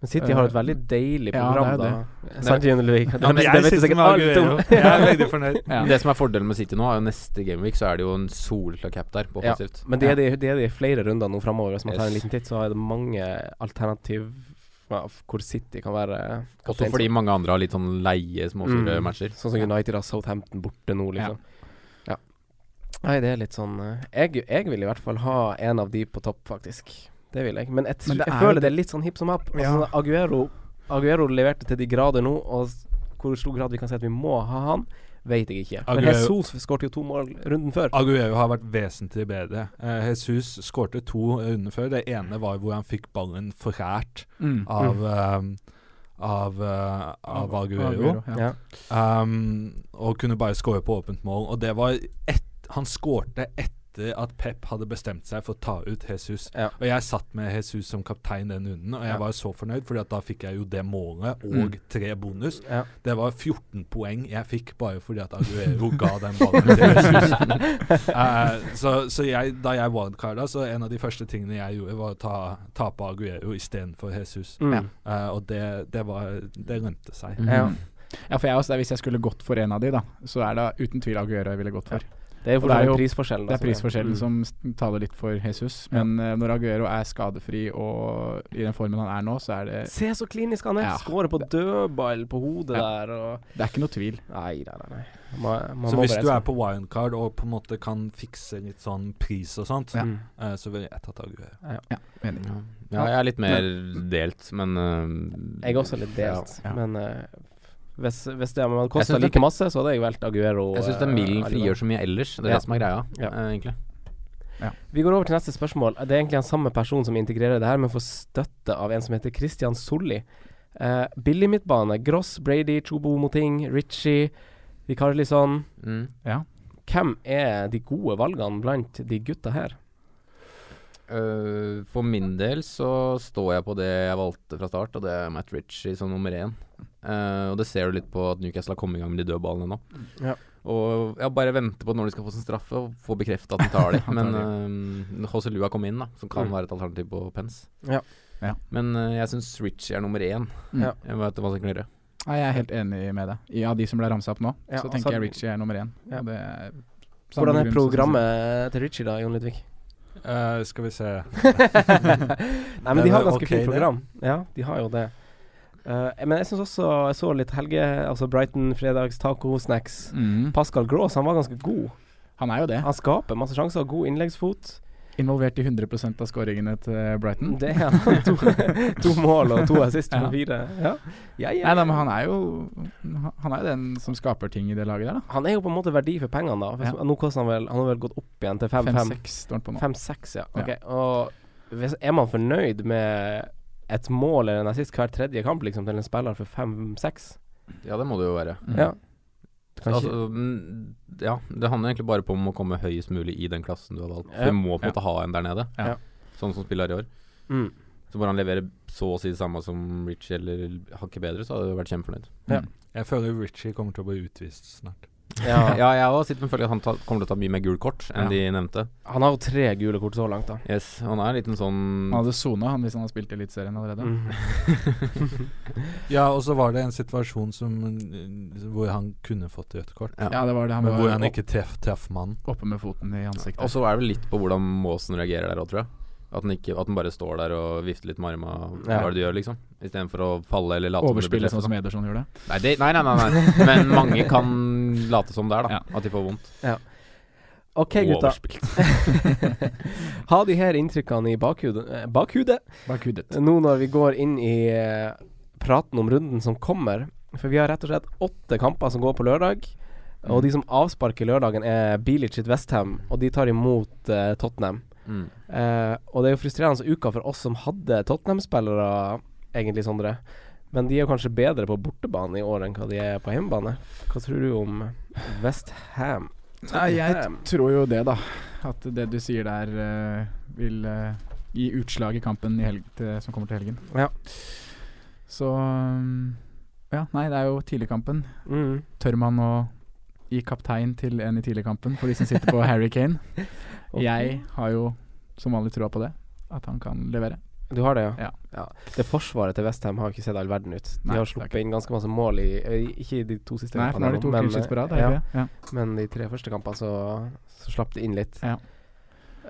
C: Men City har et
D: Eh,
C: veldig deilig
D: ja,
C: program,
D: det er
C: da. Eh, Santiago Luiz.
B: <laughs>
C: Det, det, det vet du sikkert alt om.
B: Jeg er
C: <laughs>
B: veldig fornøyd.
D: Ja.
E: Det som er fordelen med City nå, er jo neste gameweek, så er det jo en solklar cap der, på
C: Ja,
E: offensivt.
C: Men det er det, det er det i flere runder nå framover. Hvis man tar en
E: Yes.
C: liten titt, så er det mange alternativ av hvor City kan være
E: Også
C: kaptein.
E: fordi mange andre har litt sånn leie småsure
C: Mm.
E: matcher.
C: Sånn som United har Southampton borte nå, liksom. Ja. Nei, det er litt sånn eh, jeg, jeg vil i hvert fall ha en av de på topp, faktisk. Det vil jeg. Men jeg, tr
D: Men det
C: jeg
D: er jo-
C: føler det er litt sånn hipp som happ. Altså,
D: Ja.
C: Aguero, Aguero leverte til de grader nå, og s- hvor stor grad vi kan si at vi må ha han, vet jeg ikke. Men
B: Aguero-
C: Jesus skåret jo to mål runden før.
B: Aguero har vært vesentlig bedre. Eh, Jesus skårte to runder før. Det ene var hvor han fikk ballen forært
D: Mm.
B: av eh, av, eh, av Aguero.
D: ja.
C: Ja.
B: Um, og kunne bare skåre på åpent mål. Og det var ett Han skårte etter at Pep hadde bestemt seg for å ta ut Jesus.
C: Ja.
B: Og jeg satt med Jesus som kaptein den runden, og jeg
C: Ja. Mm.
B: var så fornøyd, Fordi at da fikk jeg jo det målet og tre bonus.
C: Ja.
B: Det var 14 poeng jeg fikk bare fordi at Aguero ga den ballen til Jesus.
C: <laughs>
B: Eh, så så jeg, da jeg wildcarda, så en av de første tingene jeg gjorde, var å ta, ta på Aguero istedenfor Jesus.
C: Mm.
B: Eh, og det, det var Det rømte seg.
D: Mm.
C: Ja.
D: ja, for jeg også, det er hvis jeg skulle gått for en av de, da, så er det uten tvil Aguero jeg ville gått for.
C: Det er jo
D: Og det er
C: fortsatt
D: jo-
C: prisforskjellen.
D: Det er
C: altså.
D: prisforskjellen
C: Mm.
D: som s- taler litt for Jesus, men eh, når Aguero er skadefri og i den formen han er nå, så er det
C: Se så klinisk han er!
D: Ja.
C: Skårer på dødball på hodet
D: Ja.
C: der og
D: Det er ikke noe tvil.
C: Nei, nei, nei. nei. Man, man
B: Så
C: må
B: hvis du
C: bare-
B: er på wildcard og på en måte kan fikse litt sånn pris og sånt,
C: Mm.
B: eh, så vil jeg ta Aguero.
D: Mening.
E: Ja. <laughs> ja, jeg er litt mer delt, men øh,
C: Jeg er også litt delt,
D: Ja.
C: men eh, hvis, hvis det hadde
E: Jeg
C: kosta
E: synes det-
C: like masse, så hadde jeg valgt Aguero.
E: Jeg syns
C: eh,
E: Millen
C: Alibaba.
E: frigjør så mye ellers. Det er
C: Ja.
E: det som er greia,
C: Ja.
E: eh, egentlig.
C: Vi går over til neste spørsmål. Det er egentlig den samme person som integrerer det her, men får støtte av en som heter Christian Solli. Uh, Billig midtbane. Gross, Brady, Chobo Moting, Ritchie, Rikarlison.
E: Mm.
C: sånn, Hvem er de gode valgene blant de gutta her?
E: Øh, for min del så står jeg på det jeg valgte fra start, og det er Matt Ritchie som nummer én. Eh, og det ser du litt på at Newcastle har kommet i gang med de dødballene nå.
C: Ja.
E: Og jeg bare venter på når de skal få sin straffe, og få bekrefta at de
C: <laughs>
E: tar de.
D: Han tar
E: Men øh, Jose Lua kom inn, da, som kan
C: Mm.
E: være et alternativ på Pence.
C: Ja.
D: Ja.
E: Men øh, jeg syns Ritchie er nummer én.
D: Mm.
C: Ja.
E: Jeg vet hva som kan gjøre.
D: Nei, jeg er helt enig med deg. I- Av de som ble ramsa opp nå,
C: Ja,
D: så
C: og så-
D: tenker jeg Richie er nummer én.
C: Ja.
D: Og det er samme
C: Hvordan
D: grunn
C: er
D: som-
C: programmet til Ritchie da, Jon Ludvig?
B: Eh, skal vi
C: <laughs>
B: se
C: Nei, men
B: Det
C: de
B: var
C: har ganske
B: eh, ok,
C: fint
B: det.
C: program. Ja, de har jo det. Eh, men jeg syns også jeg så litt helge, altså Brighton fredags tacosnacks.
D: Mm.
C: Pascal Gross han var ganske god.
D: Han er jo det.
C: Han skaper masse sjanser, god innleggsfot.
D: Involvert i 100 av skåringene til eh, Brighton.
C: Det er han. <laughs> to, to mål og to assist på
D: Mm. Ja.
C: fire. Ja. Ja, ja,
D: Nei, nei,
C: ja.
D: men han er jo Han er jo den som skaper ting i det laget der, da.
C: Han er jo på en måte verdi for pengene, da. Hvis,
D: Ja.
C: Nå koster han vel Han har vel gått opp igjen til 5-5.
D: 5-6 står han på nå.
C: 5-6, ja.
D: Ja.
C: Ok, Og hvis, er man fornøyd med et mål eller en assist hver tredje kamp liksom til en spiller for 5-6?
E: Ja, det må det jo være.
C: Ja. Kanskje
E: Altså, mm, ja, det handler egentlig bare på om å komme høyest mulig i den klassen du har valgt. For
C: Ja.
E: du må på en måte ha en der nede,
D: Ja.
E: sånn som spiller i år.
C: Mm.
E: Så bare han leverer så å si det samme som Rich eller hakket bedre, så hadde jeg vært kjempefornøyd.
B: Jeg føler Richie kommer til å bli utvist snart.
C: ja.
E: Ja, <laughs> jeg òg sitter med følelsen at han ta, kommer til å ta mye mer gult kort enn
D: Ja.
E: de nevnte.
C: Han har jo tre gule kort så langt, da.
E: Yes, og han er en liten sånn
D: Han hadde sona han hvis han hadde spilt i Eliteserien allerede.
C: Mm.
E: <laughs>
B: Ja, og så var det en situasjon som, eh, hvor han kunne fått rødt kort,
E: Ja.
D: Ja, det var det. Han
B: men hvor
D: var
B: han
D: opp,
B: ikke treff, traff mannen.
D: oppe med foten i ansiktet.
E: Og så er det vel litt på hvordan Måsen reagerer der òg, tror jeg. At den, ikke, at den bare står der og vifter litt med arma hva
C: Ja.
E: er det du gjør, liksom. Istedenfor å falle eller late
D: Overspille sånn
E: som. det blir treffet.
D: som Ederson gjorde.
E: Nei, det, nei, nei, nei, <laughs> nei. Men mange kan late som det er, da. At de får vondt.
C: OK,
E: Og
C: gutta.
E: overspilt.
C: Ha de her inntrykkene i bakhudet, eh, bakhudet
D: Bak hudet.
C: nå når vi går inn i eh, praten om runden som kommer. For vi har rett og slett åtte kamper som går på lørdag. Og de som avsparker lørdagen, er Bilic sitt Westham, og de tar imot eh, Tottenham.
E: Mm.
C: Eh, og det er jo frustrerende uka for oss som hadde Tottenham-spillere, egentlig, Sondre. Men de er jo kanskje bedre på bortebane i år enn hva de er på hjemmebane. Hva tror du om Westham?
D: Nei, jeg tror jo det, da. At det du sier der eh, vil eh, gi utslag i kampen i helg, til, som kommer til helgen.
C: Ja.
D: Så um, Ja, nei, det er jo tidligkampen.
C: Mm.
D: Tør man å gi kaptein til en i tidligkampen for de som sitter på Harry Kane? Jeg har jo som vanlig troa på det. At han kan levere.
C: Du har det, ja?
D: Ja.
C: Det forsvaret til Westham har jo ikke sett all verden ut. De
D: Nei,
C: har
D: det er
C: sluppet inn ganske masse mål i eh, Ikke i de to siste
D: Nei, for nå er det to
C: men,
D: clean sheets på rad.
C: eh,
D: er det
C: ja,
D: ikke det? Ja.
C: men de tre første kampene så, så slapp de inn litt.
D: Ja.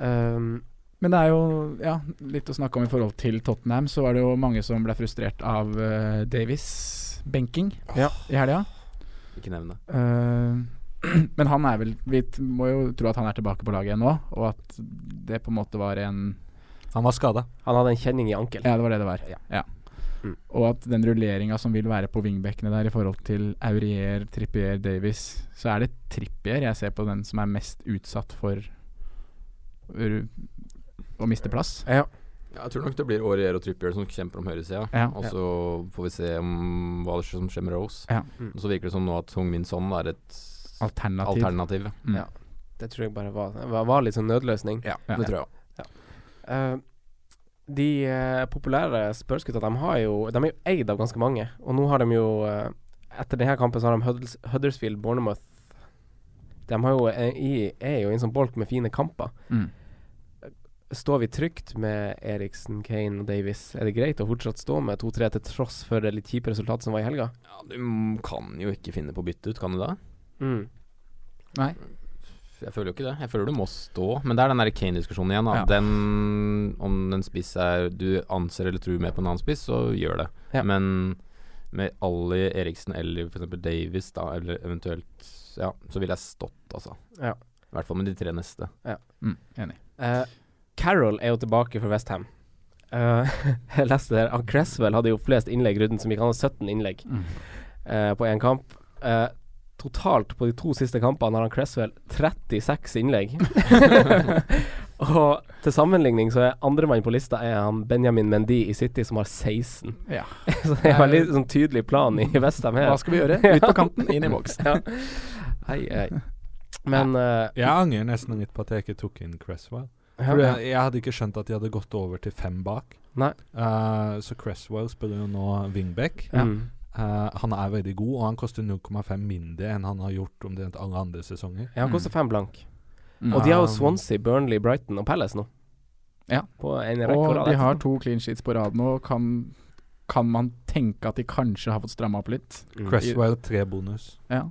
C: Um,
D: Men det er jo ja, litt å snakke om i forhold til Tottenham. Så var det jo mange som ble frustrert av eh, Davies benking
C: Ja.
D: i helga.
E: Ikke nevn det.
D: Eh, <clears throat> men han er vel Vi t- må jo tro at han er tilbake på laget igjen nå, og at det på en måte var en
B: Han var skada.
C: han hadde en kjenning i ankelen.
D: Ja, det var det det var.
C: Ja. Mm.
D: Og at den rulleringa som vil være på vingbekkene der i forhold til Aurier, Trippier, Davies, så er det Trippier jeg ser på den som er mest utsatt for ur- å miste plass.
E: Ja, jeg tror nok det blir Aurier og Trippier som kjemper om høyresida.
D: Ja.
E: Og så får vi se om hva det som skjer med Rose.
D: Ja.
C: Mm.
E: Og så virker det som nå at Hung Min Son er et
D: Alternativ.
E: alternativ.
D: Mm.
C: Ja. Det tror jeg bare var, var, var litt sånn nødløsning.
E: Ja,
D: Ja.
E: det tror jeg òg.
C: Eh, de eh, populære spørsgutta, de, har jo, de er jo eid av ganske mange. Og nå har de jo eh, Etter denne kampen så har de Huddles, Huddersfield, Bournemouth De har jo, eh, i, er jo i en sånn bolk med fine kamper.
D: Mm.
C: Står vi trygt med Eriksen, Kane og Davies? Er det greit å fortsatt stå med 2-3 til tross for det litt kjipe resultatet som var i helga?
E: Ja, du mm, kan jo ikke finne på å bytte ut, kan du da?
C: Mm.
E: Jeg føler jo ikke det. Jeg føler du må stå. Men det er den der Kane-diskusjonen igjen. Da.
D: Ja.
E: Den, om en spiss er du anser eller tror mer på en annen spiss, så gjør det.
C: Ja.
E: Men med Ali Eriksen eller f.eks. Davis, da, eller eventuelt Ja, så ville jeg stått, altså.
C: Ja.
E: I hvert fall med de tre neste.
D: Mm. Enig.
C: Eh, Carroll er jo tilbake for Westham. Uh, <laughs> jeg leste det her. Han Cresswell hadde jo flest innlegg i runden, som gikk an 17 innlegg
D: Mm.
C: eh, på én kamp. Eh, totalt på de to siste kampene har han Cresswell 36
D: <laughs>
C: innlegg. <laughs> Og til sammenligning så er andremann på lista er han Benjamin Mendy i City, som har 16.
D: Ja.
C: <laughs> så det er en litt sånn tydelig plan i Westham her.
D: Mm. Hva skal vi gjøre?
C: <laughs>
D: Ut på kanten, inn i boks.
C: ja. Hei, hei. Men eh,
B: Jeg angrer nesten litt på at jeg ikke tok inn Cresswell.
C: ja,
B: For jeg, jeg hadde ikke skjønt at de hadde gått over til fem bak.
C: Nei.
B: Eh, så Cresswell spiller jo nå wingback.
C: Mm.
B: Eh, han er veldig god, og han koster 0,5 mindre enn han har gjort omtrent alle andre sesonger.
C: ja, han koster fem blank.
D: Mm.
C: Og de har jo
B: Um,
C: Swansea, Burnley, Brighton og Palace nå.
D: Ja.
C: På en rekke
D: Og
C: og rad
D: de har
C: etterpå.
D: to clean sheets på rad nå. Kan, kan man tenke at de kanskje har fått stramma opp litt?
C: Mm.
B: Cresswell tre bonus.
D: Ja,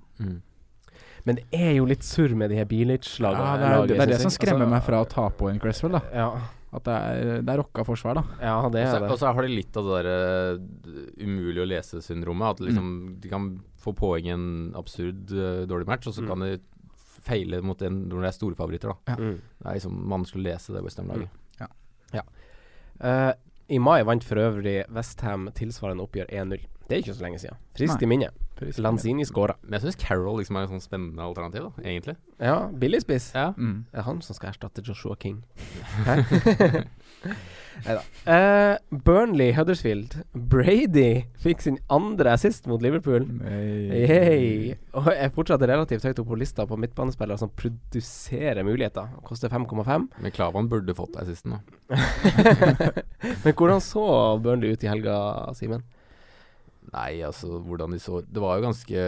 C: Men det er jo litt surr med de her Bilic-lagene. Altså,
D: det, er, det, er det som skremmer meg fra å ta på en Cresswell, da.
C: Ja.
D: At det er, det er rocka forsvar, da.
C: Ja,
E: Og
C: det er
E: så-
C: det.
E: Og så har de litt av det der eh, umulig å lese-syndromet. At liksom, de kan få poeng i en absurd eh, dårlig match, og så kan de feile mot en når de er store favoritter. Da.
C: Mm.
E: Det er liksom vanskelig å lese det Westham-laget.
C: Eh, I mai vant for øvrig Westham tilsvarende oppgjør 1-0. Det er ikke så lenge siden. Friskt i minne. Lanzini skåra.
E: Men jeg syns Carol liksom er et sånn spennende alternativ, da, egentlig.
C: Ja, billigspiss.
E: Ja.
D: Mm.
C: Det er han som skal erstatte Joshua King.
D: <laughs>
C: Hæ? <laughs> Neida. Eh, Burnley Huddersfield. Brady fikk sin andre assist mot Liverpool. Yay. Og er fortsatt relativt høyt oppe på lista på midtbanespillere som produserer muligheter. Og Koster 5,5.
E: Men Klavan burde fått assisten, da.
C: Men hvordan så Burnley ut i helga, Simen?
E: Nei, altså, hvordan de så Det var jo ganske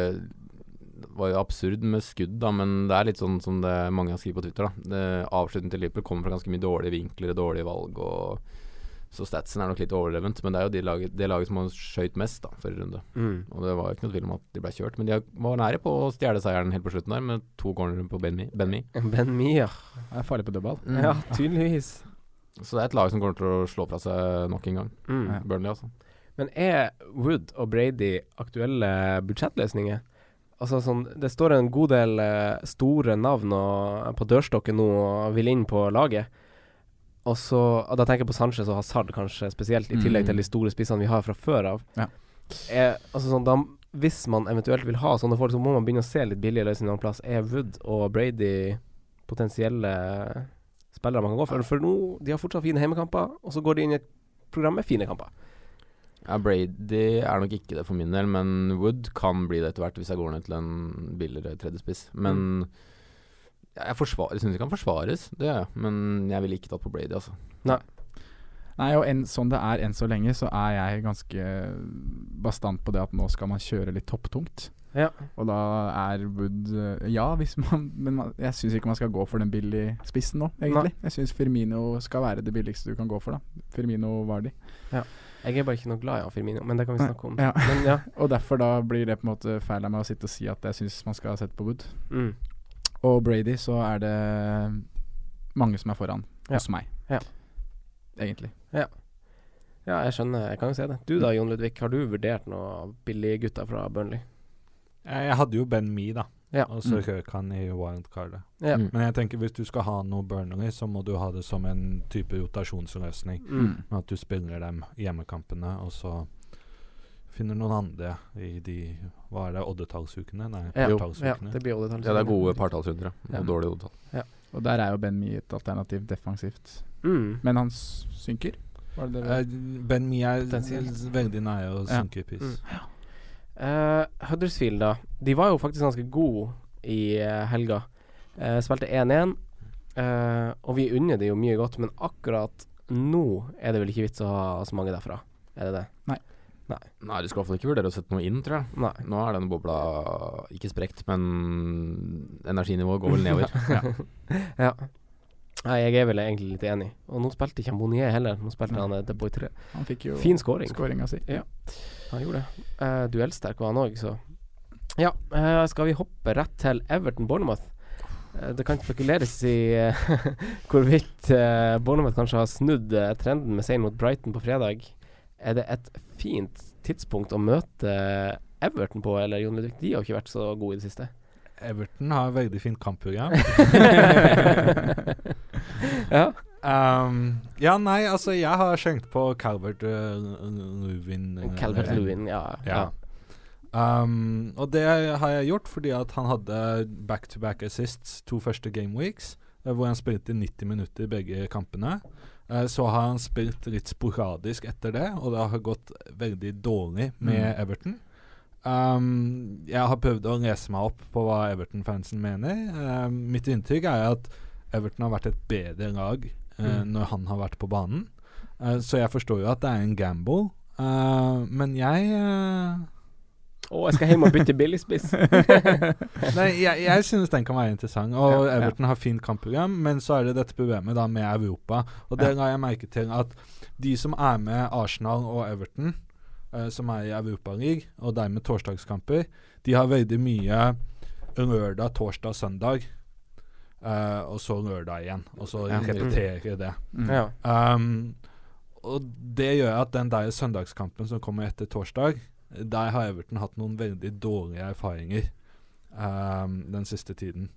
E: det var jo absurd med skudd, da, men det er litt sånn som det mange har skrevet på Twitter. da det, Avslutningen til Liverpool kommer fra ganske mye dårlige vinkler og dårlige valg. Og, så statsen er nok litt overlevent, men det er jo de laget, det laget som har skøyt mest da, forrige runde. Og det var jo ikke noe tvil om at de ble kjørt, men de har- var nære på å stjele seieren helt på slutten der, med to cornerer på Ben Mi. Ben Mi.
C: Ben Mia.
D: Det er farlig på dødball.
C: Ja, tydeligvis.
E: Så det er et lag som kommer til å slå fra seg nok en gang.
C: Mm.
E: Burnley, altså.
C: Men er Wood og Brady aktuelle budsjettløsninger? Altså sånn, Det står en god del eh, store navn og, eh, på dørstokken nå og vil inn på laget. Og så, og Da tenker jeg på Sanchez og Hazard kanskje spesielt, i tillegg til de store spissene vi har fra før av.
D: Ja.
C: Er, altså sånn, da, hvis man eventuelt vil ha sånne folk, så må man begynne å se litt billigere løsninger noen plass. Er Wood og Brady potensielle eh, spillere man kan gå for? For nå, de har fortsatt fine heimekamper, og så går de inn i et program med fine kamper.
E: Ja, Brady er nok ikke det for min del, men Wood kan bli det etter hvert hvis jeg går ned til en billigere tredjespiss.
B: Mm.
E: Men ja, jeg, forsvar, jeg syns det kan forsvares, det gjør jeg, men jeg ville ikke tatt på Brady, altså.
D: Nei, og enn, sånn det er enn så lenge, så er jeg ganske eh, bastant på det at nå skal man kjøre litt topptungt.
C: Ja.
D: Og da er Wood eh, Ja, hvis man Men man, jeg syns ikke man skal gå for den billige spissen nå, egentlig. Jeg syns Firmino skal være det billigste du kan gå for, da. Firmino Vardi.
C: Jeg er bare ikke noe glad i han Firmino, men det kan vi
D: Nei,
C: snakke om.
D: ja.
C: Men
D: <laughs>
C: ja,
D: Og derfor da blir det på en måte feil av meg å sitte og si at jeg syns man skal sette på Wood.
C: mm.
D: Og Brady, så er det mange som er foran
C: Ja.
D: hos meg.
C: Ja.
D: Egentlig.
C: ja jeg skjønner. Jeg kan jo se det. Du da, Jon Ludvig. Har du vurdert noen billige gutter fra Burnley?
B: Jeg jeg hadde jo Ben Me, da.
C: Ja. Mm.
B: Og så røk han i wildcardet.
C: Ja.
E: Mm.
B: Men jeg tenker hvis du skal ha noe Burnley, så må du ha det som en type rotasjonsløsning.
C: Mm.
B: Men At du spiller dem hjemmekampene, og så finner noen andre i de Hva er det, oddetallsukene? Nei,
C: Ja. ja,
B: partallsukene.
C: det blir oddetall.
E: Ja, det er gode partallsrundere og
C: Ja.
E: dårlige oddetall.
D: Og der er jo Ben Mee et alternativ defensivt.
C: Mm.
D: Men han s- synker? Var det det? vi-
B: Eh, Ben Me er
C: Potensielt.
B: veldig nære å
D: Ja.
B: synke i pris.
C: Mm. Eh, Huddersfield, da. De var jo faktisk ganske gode i eh, helga. Eh, spilte 1-1, eh, og vi unner det jo mye godt, men akkurat nå er det vel ikke vits å ha så mange derfra? Er det det?
E: Nei, du skal i hvert fall ikke vurdere å sette noe inn, tror jeg.
C: Nei.
E: Nå er den bobla ikke sprekt, men energinivået
C: <laughs>
E: går vel nedover.
C: Ja. Nei, jeg er vel egentlig litt enig. Og nå spilte ikke han Bonnier heller, nå spilte han eh, De Boy 3.
D: Han fikk jo
C: Fin scoring.
D: scoringa si.
C: Ja. Han gjorde det. Eh, duellsterk var han òg, så Ja, eh, skal vi hoppe rett til Everton Bournemouth? Eh, det kan spekuleres i eh, <laughs> hvorvidt eh, Bournemouth kanskje har snudd eh, trenden med seier mot Brighton på fredag. Er det et fint tidspunkt å møte Everton på, eller Jon Ludvig? De har jo ikke vært så gode i det siste.
B: Everton har veldig fint kampprogram.
C: ja.
B: Um, ja, nei, altså jeg har skjenkt på Calvert eh, Lewin. eh,
C: Calvert Lewin, ja.
B: Ja. Um, og det har jeg gjort fordi at han hadde back-to-back assists to første game weeks, eh, hvor han spilte 90 minutter i begge kampene. Eh, så har han spilt litt sporadisk etter det, og det har gått veldig dårlig med Everton. Um, jeg har prøvd å lese meg opp på hva Everton-fansen mener. Eh, mitt inntrykk er at Everton har vært et bedre lag eh, når han har vært på banen. Eh, så jeg forstår jo at det er en gamble, eh, men jeg eh,
C: Å, jeg skal hjem og bytte billigspiss.
B: <laughs> Nei, jeg, jeg synes den kan være interessant. Og Everton har fint kampprogram, men så er det dette problemet da med Europa. Og det la jeg merke til at de som er med Arsenal og Everton, eh, som er i Europaligaen, og dermed torsdagskamper, de har veldig mye lørdag, torsdag, søndag. eh, og så lørdag igjen, og så
C: Ja.
B: repetere det.
C: Ja.
B: Um, og det gjør at den der søndagskampen som kommer etter torsdag, der har Everton hatt noen veldig dårlige erfaringer um, den siste tiden.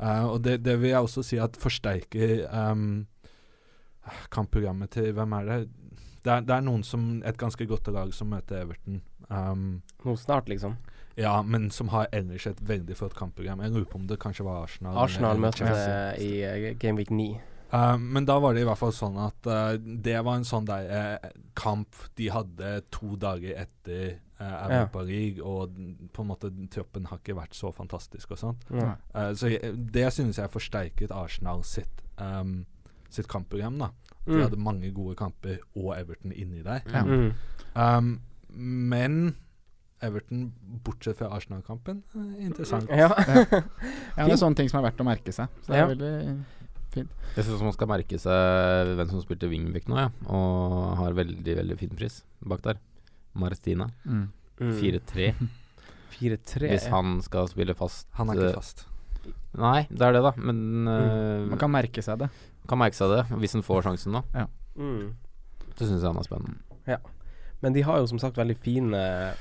B: Uh, og det, det vil jeg også si at forsterker um, kampprogrammet til Hvem er det? Det er, det er noen som et ganske godt lag som møter Everton. Um,
C: Nå snart, liksom.
B: ja, men som har ellers et veldig flott kampprogram. Jeg lurer på om det kanskje var Arsenal.
C: Arsenal
B: eller
C: møtte
B: Chelsea.
C: i eh, Game Week 9.
B: Eh, men da var det i hvert fall sånn at eh, det var en sånn der eh, kamp de hadde to dager etter uh, Europa League, og den- på en måte troppen har ikke vært så fantastisk og sånt.
C: Nei.
B: Eh, så jeg, det synes jeg forsterket Arsenal sitt, ehm, sitt kampprogram, da. De
C: Mm.
B: hadde mange gode kamper, og Everton inni der.
C: Mm.
B: Ehm, men Everton, bortsett fra Arsenal-kampen, eh, interessant.
C: Ja.
E: <laughs>
D: Ja, det er sånne ting som er verdt å merke seg. Så det
C: Ja.
D: er veldig
E: Jeg syns man skal merke seg hvem som spilte wingback nå, ja. Og har veldig, veldig fin pris bak der. Martina.
D: mm.
E: 4-3.
C: 4-3.
E: Hvis han skal spille fast
B: Han
E: eh,
B: er ikke fast.
E: Nei, det er det, da. Men eh,
D: Man
E: kan,
D: kan merke seg det.
E: merke seg det, hvis han får sjansen nå.
C: Mm.
E: Så syns jeg han er spennende.
C: Men de har jo som sagt veldig fine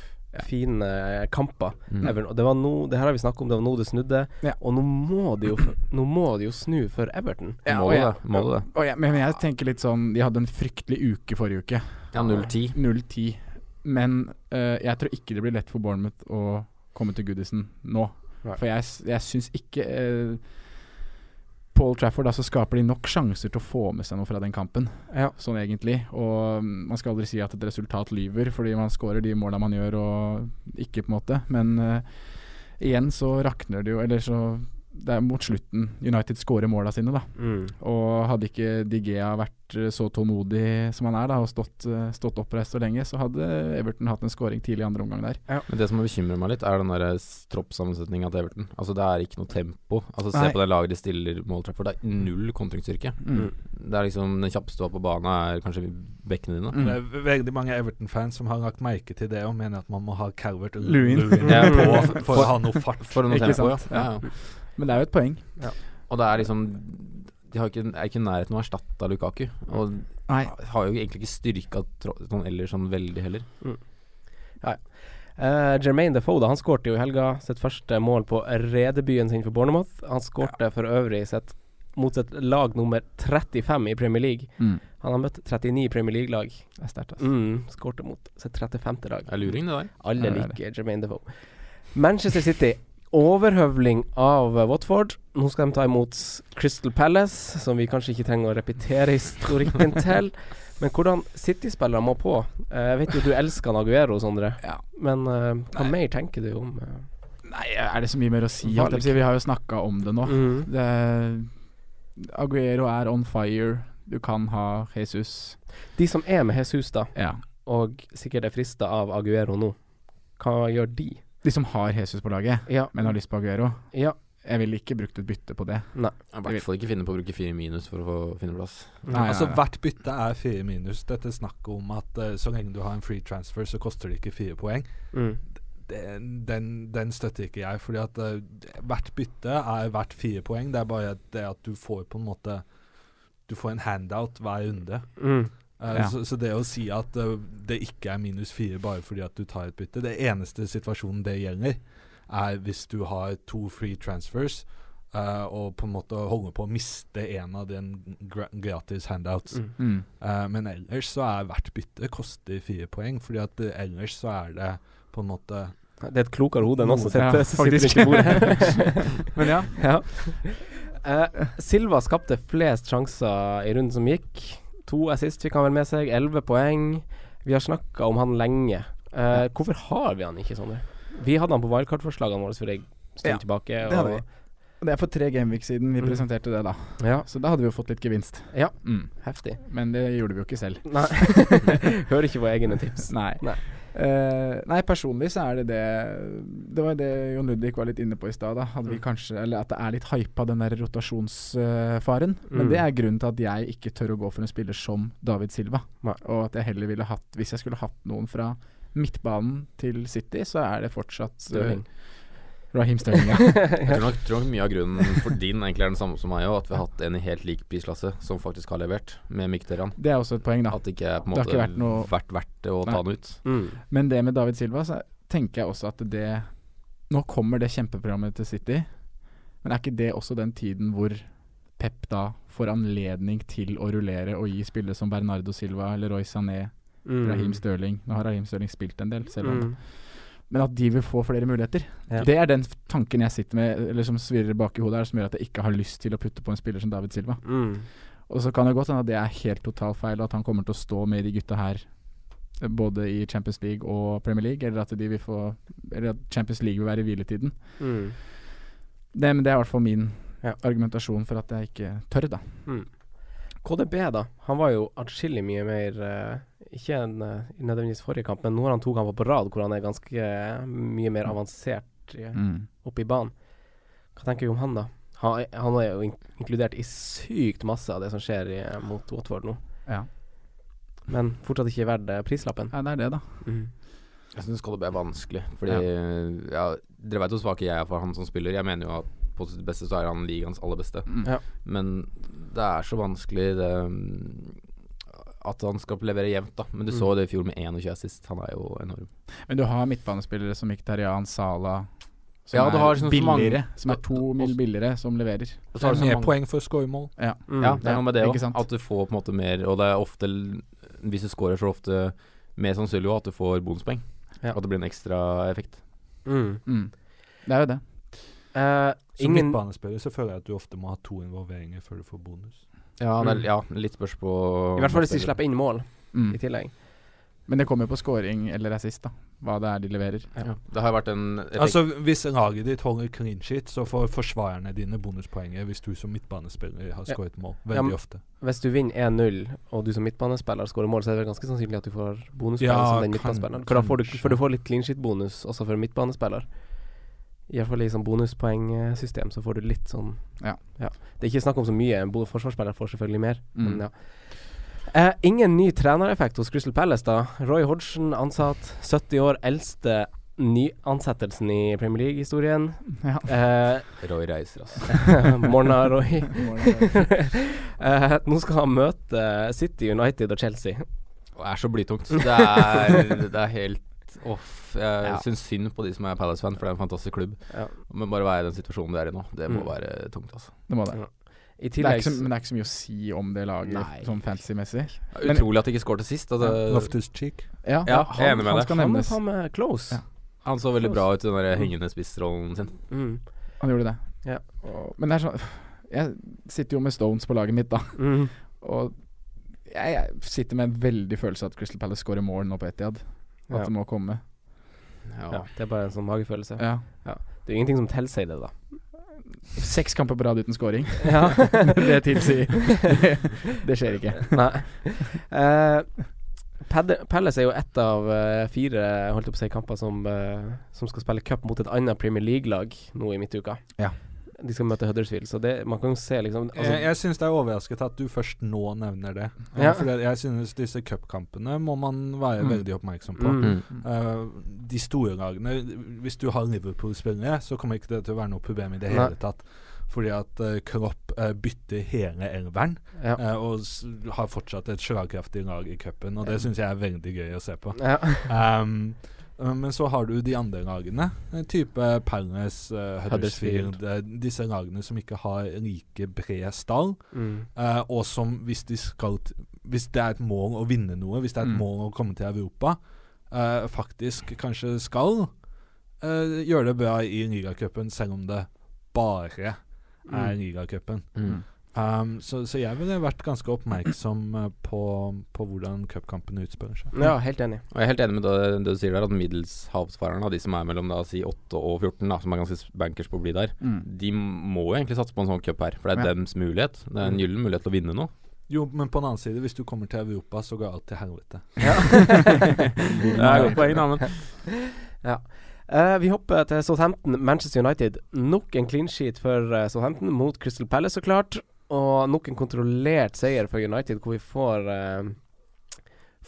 C: Fine eh, kamper.
E: Mm.
C: Everton. Og det var nå Det her har vi snakket om, det var nå det snudde.
D: Ja.
C: Og nå må de jo f- Nå må de jo snu for Everton.
D: Ja,
E: må
D: og
E: du
D: jeg-
E: det? Må du det?
D: Og jeg- men jeg tenker litt sånn De hadde en fryktelig uke forrige uke.
E: Ja, 0-10.
D: 0-10. Men eh, jeg tror ikke det blir lett for Bournemouth å komme til Goodison nå.
C: Nei.
D: For jeg, s- jeg syns ikke eh, Paul Trafford, da så skaper de nok sjanser til å få med seg noe fra den kampen,
C: Ja.
D: sånn egentlig. Og mm, man skal aldri si at et resultat lyver, fordi man scorer de måla man gjør og ikke, på en måte. Men eh, igjen så rakner det jo, eller så Det er mot slutten United scorer måla sine, da.
C: Mm.
D: Og hadde ikke Di Gea vært eh, så tålmodig som han er, da, og stått, eh, stått oppreist så lenge, så hadde Everton hatt en scoring tidlig i andre omgang der.
E: Men det som bekymrer meg litt, er den der troppssammensetninga til Everton. Altså Det er ikke noe tempo. Altså Se
D: Nei.
E: på det laget de stiller mål for. Det er null kontringsstyrke.
D: Mm.
E: Det er liksom Den kjappeste du har på banen, er kanskje bekkene dine.
B: Det
D: Mm,
B: er veldig mange Everton-fans som har lagt merke til det og mener at man må ha Calvert og
D: Lewin.
E: Ja.
B: på <laughs> for, å ha noe fart.
E: For noe
D: Ikke
E: tempo, ja.
D: sant?
E: ja. ja.
D: Men det er jo et poeng.
E: Og det er liksom De har ikke, er ikke i nærheten av å erstatte Lukaku. Og
D: Nei.
E: har jo egentlig ikke styrka tro- sånn ellers sånn veldig heller.
C: Eh, Jermaine Defoe da, han skårte jo i helga sitt første mål på redebyen sin for Bournemouth. Han skårte for øvrig sitt mot et lag nummer 35 i Premier League.
D: Mm.
C: Han har møtt 39 Premier League-lag.
D: Det er sterkt, altså.
C: Mm, skårte mot sitt 35. lag.
E: Det er luring, det der.
C: Alle
D: Ja, det er
C: liker Jermaine Defoe. Manchester City, overhøvling av eh, Watford. Nå skal de ta imot Crystal Palace, som vi kanskje ikke trenger å repetere <laughs> historikken til. Men hvordan City-spillere må på? Eh, Jeg vet jo du elsker han Aguero, Sondre.
D: Ja.
C: Men eh, hva mer tenker du om eh,
D: Nei, er det så mye mer å si? holdt jeg på å si? Vi har jo snakka om det nå.
C: mm.
D: Det er, Aguero er on fire. Du kan ha Jesus.
C: De som er med Jesus, da,
D: Ja.
C: og sikkert er frista av Aguero nå, hva gjør de?
D: De som har Jesus på laget,
C: Ja.
D: men har lyst på Aguero.
C: Ja.
D: Jeg ville ikke brukt et bytte på det.
E: I hvert fall ikke finne på å bruke fire minus for å få- finne plass.
D: Nei,
B: Altså
D: nei, nei.
B: Hvert bytte er fire minus. Dette snakket om at eh, så lenge du har en free transfer, så koster det ikke fire poeng.
C: Mm.
B: Den, den, den støtter ikke jeg. Fordi at eh, hvert bytte er hvert fire poeng. Det er bare at det at du får på en måte Du får en handout hver runde.
C: Mm.
B: Eh,
D: Ja.
B: så, så det å si at eh, det ikke er minus fire bare fordi at du tar et bytte Det eneste situasjonen det gjelder, er hvis du har to free transfers eh, og på en måte holder på å miste en av den gra gratis handouts.
C: Mm.
D: Mm.
B: Eh, men ellers så er hvert bytte koster fire poeng, fordi at eh, ellers så er det på en måte
C: Det er et klokere hode enn oss som sitter,
D: Ja,
C: som sitter
D: faktisk.
C: rundt <laughs> bordet.
D: Men ja.
C: Ja. <laughs> Eh, Silva skapte flest sjanser i runden som gikk. To assist fikk han vel med seg, elleve poeng. Vi har snakka om han lenge. Eh, hvorfor har vi han ikke, Sondre? Vi hadde han på wildcard-forslagene våre for ei stund
D: Ja,
C: tilbake.
D: det hadde Det er for tre gameweek siden vi
C: Mm.
D: presenterte det, da.
C: Ja,
D: Så da hadde vi jo fått litt gevinst.
C: Ja.
D: Mm.
C: heftig.
D: Men det gjorde vi jo ikke selv. <laughs>
C: Nei. <laughs> Hører ikke på egne tips.
D: Nei.
C: Nei.
D: Eh, nei, personlig så er det det Det var det Jon Ludvig var litt inne på i stad. da.
C: Mm.
D: Hadde vi kanskje, Eller at det er litt hypa, den der rotasjonsfaren.
C: Mm.
D: Men det er grunnen til at jeg ikke tør å gå for en spiller som David Silva.
C: Nei.
D: Og at jeg heller ville hatt Hvis jeg skulle hatt noen fra midtbanen til City, så er det fortsatt eh,
C: Stirling.
D: Raheem Sterling,
C: <laughs>
D: ja.
E: Jeg tror nok, tror nok mye av grunnen for din egentlig er den samme som meg òg, at vi har hatt en i helt lik prisklasse som faktisk har levert, med Mkhitaryan.
D: Det er også et poeng, da.
E: At det ikke er på en
D: Det har
E: måte
D: ikke vært noe-
E: vært verdt det å ta han ut.
C: Mm.
D: Men det med David Silva, så tenker jeg også at det Nå kommer det kjempeprogrammet til City, men er ikke det også den tiden hvor Pep da får anledning til å rullere og gi spillere som Bernardo Silva, Leroy Sané,
C: Mm.
D: Raheem Stirling Nå har Raheem Stirling spilt en del, selv om
C: Mm.
D: Men at de vil få flere muligheter.
C: Ja.
D: Det er den f- tanken jeg sitter med, eller som svirrer bak i hodet her, som gjør at jeg ikke har lyst til å putte på en spiller som David Silva.
C: Mm.
D: Og så kan det godt hende at det er helt totalt feil, at han kommer til å stå med de gutta her eh, både i Champions League og Premier League, eller at, de vil få, eller at Champions League vil være i hviletiden.
C: Mm.
D: Det, men det er i hvert fall min
C: Ja.
D: argumentasjon for at jeg ikke tør, da.
C: KDB, da. Han var jo atskillig mye mer eh, Ikke en, eh, nødvendigvis forrige kamp, men nå har han to kamper på rad hvor han er ganske eh, mye mer avansert eh,
E: Mm.
C: oppe i banen. Hva tenker vi om han, da? Han, er- han er jo in inkludert i sykt masse av det som skjer i, eh, mot Watford nå,
D: Ja.
C: men fortsatt ikke verdt eh, prislappen.
D: Nei, det er det, da.
C: Mm.
E: Jeg syns Kolbe er vanskelig, fordi ja. Dere veit hvor svak jeg er for han som spiller. Jeg mener jo at på sitt beste så er han ligaens aller beste.
D: Mm.
C: Ja.
E: Men det er så vanskelig det, mm, at han skal levere jevnt, da. Men du
D: Mm.
E: så jo det i fjor med 21 assist. Han er jo enorm.
D: Men du har midtbanespillere som Iktarian, Sala som
E: Ja, du har
D: er
E: sånn som
D: billigere,
E: mange-
D: som er to mil billigere, som leverer.
E: Og
B: Det er mer poeng for skåremål.
D: Ja.
E: Ja, det er noe med det
D: Ja,
E: òg.
D: ikke sant?
E: At du får på en måte mer Og det er ofte l- Hvis du scorer, så er det ofte mer sannsynlig også at du får bonuspoeng.
C: Ja.
E: At det blir en ekstra effekt.
C: Mm.
D: Mm. Det er jo det.
C: Eh,
B: Som
C: ingen
B: midtbanespiller så føler jeg at du ofte må ha to involveringer før du får bonus.
E: Ja, det
C: Mm.
E: er, ja litt spørs på
C: I hvert fall hvis de slipper inn mål
D: Mm.
C: i tillegg.
D: Men det kommer jo på scoring eller assist, da. Hva det er de leverer.
E: ja. Det har vært en effekt
B: Altså Hvis laget ditt holder clean sheet, så får forsvarerne dine bonuspoenger hvis du som midtbanespiller har
C: Ja.
B: skåret mål.
C: Ja,
B: Veldig
C: men-
B: ofte.
C: Hvis du vinner 1-0, og du som midtbanespiller skårer mål, så er det vel ganske sannsynlig at du får bonuspoeng
B: Ja,
C: som den
B: kan-
C: midtbanespilleren. For, da får du,
B: kanskje.
C: for du får litt clean shit-bonus også for en midtbanespiller. Iallfall i sånn bonuspoengsystem, så får du litt sånn
D: Ja.
C: Det er ikke snakk om så mye. En bo- forsvarsspiller får selvfølgelig mer,
D: Mm.
C: men ja. Eh, ingen ny trenereffekt hos Crystal Palace, da. Roy Hodgson ansatt, 70 år, eldste nyansettelsen i Premier League-historien.
D: Ja.
C: Eh,
E: Roy reiser, altså.
C: <laughs> Morna,
D: <laughs>
C: Roy. Eh, nå skal han møte eh, City, United og Chelsea.
E: Det er så blytungt. Det er, det er helt off. Jeg
C: Ja.
E: syns synd på de som er Palace-fan, for det er en fantastisk klubb.
C: Ja.
E: Men bare å være i den situasjonen de er i nå, det må
C: Mm.
E: være tungt, altså.
D: Det må det.
C: I
D: Det er
C: tillegg
D: ikke så, men det er ikke så mye å si om det laget
C: Nei.
D: sånn fantasy-messig. Men-
E: Utrolig at de ikke skåret sist. Altså,
B: Loftus Cheek.
D: Ja,
E: Ja,
D: han,
E: jeg er enig med
D: han
E: deg.
D: skal
C: Han er
D: nevnes.
C: faen meg close.
D: Ja.
E: han så veldig bra ut i den der hengende spissrollen sin.
C: Mm.
D: Han gjorde det.
C: Ja.
D: Og, men det er sånn <sighs> Jeg sitter jo med Stones på laget mitt, da. <laughs>
C: Mm.
D: Og jeg, jeg sitter med en veldig følelse av at Crystal Palace scorer mål nå på Etiad. At
C: Ja.
D: det må komme.
C: Ja, det er bare en sånn magefølelse.
D: Ja.
C: Det er jo ingenting som tilsier det, da.
D: Seks kamper på rad uten scoring.
C: <laughs> Ja.
D: <laughs> det tilsier <laughs> det, det skjer ikke.
C: Nei. Eh, Pad- Palace er jo ett av eh, fire holdt jeg på å si, kamper som, eh, som skal spille cup mot et annet Premier League-lag nå i midtuka.
D: Ja.
C: De skal møte Huddersfield, så det, man kan jo se liksom
B: jeg
C: altså,
B: jeg syns det er overrasket at du først nå nevner det.
C: Ja.
B: For jeg synes disse cupkampene må man være
D: Mm.
B: veldig oppmerksom på.
C: Mm.
B: Eh, de store lagene Hvis du har Liverpool-spillere, så kommer ikke det til å være noe problem i det hele
C: Nei.
B: tatt. Fordi at eh, Klopp eh, bytter hele elveren,
C: Ja.
B: eh, og s har fortsatt et slagkraftig lag i cupen. Og det syns jeg er veldig gøy å se på.
C: Ja.
B: Ehm, eh, men så har du de andre lagene, eh, type Palace, eh, Huddersfield, eh, disse lagene som ikke har like bred stall.
C: Mm.
B: Eh, og som hvis de skal t Hvis det er et mål å vinne noe, hvis det er et
D: Mm.
B: mål å komme til Europa, eh, faktisk kanskje skal eh, gjøre det bra i ligacupen, selv om det bare er ligacupen.
E: Mm.
B: Um, så, så jeg ville vært ganske oppmerksom eh, på, på hvordan cupkampene utspiller seg.
C: ja, helt enig.
E: Og jeg er helt enig med det, det du sier der, at middelshavsfarerne, de som er mellom da, si 8 og 14, da, som er ganske s- bankers på å bli der, de må jo egentlig satse på en sånn cup her. For det er
D: Ja.
E: dems mulighet. Det er en gyllen mulighet til å vinne noe.
B: Jo, men på den annen side, hvis du kommer til Europa, så går alt til helvete.
E: Det er et godt poeng, da, men
C: <laughs> Eh, vi hopper til Southampton, Manchester United. Nok en clean sheet for eh, Southampton mot Crystal Palace, så klart. Og nok en kontrollert seier for United, hvor vi får eh,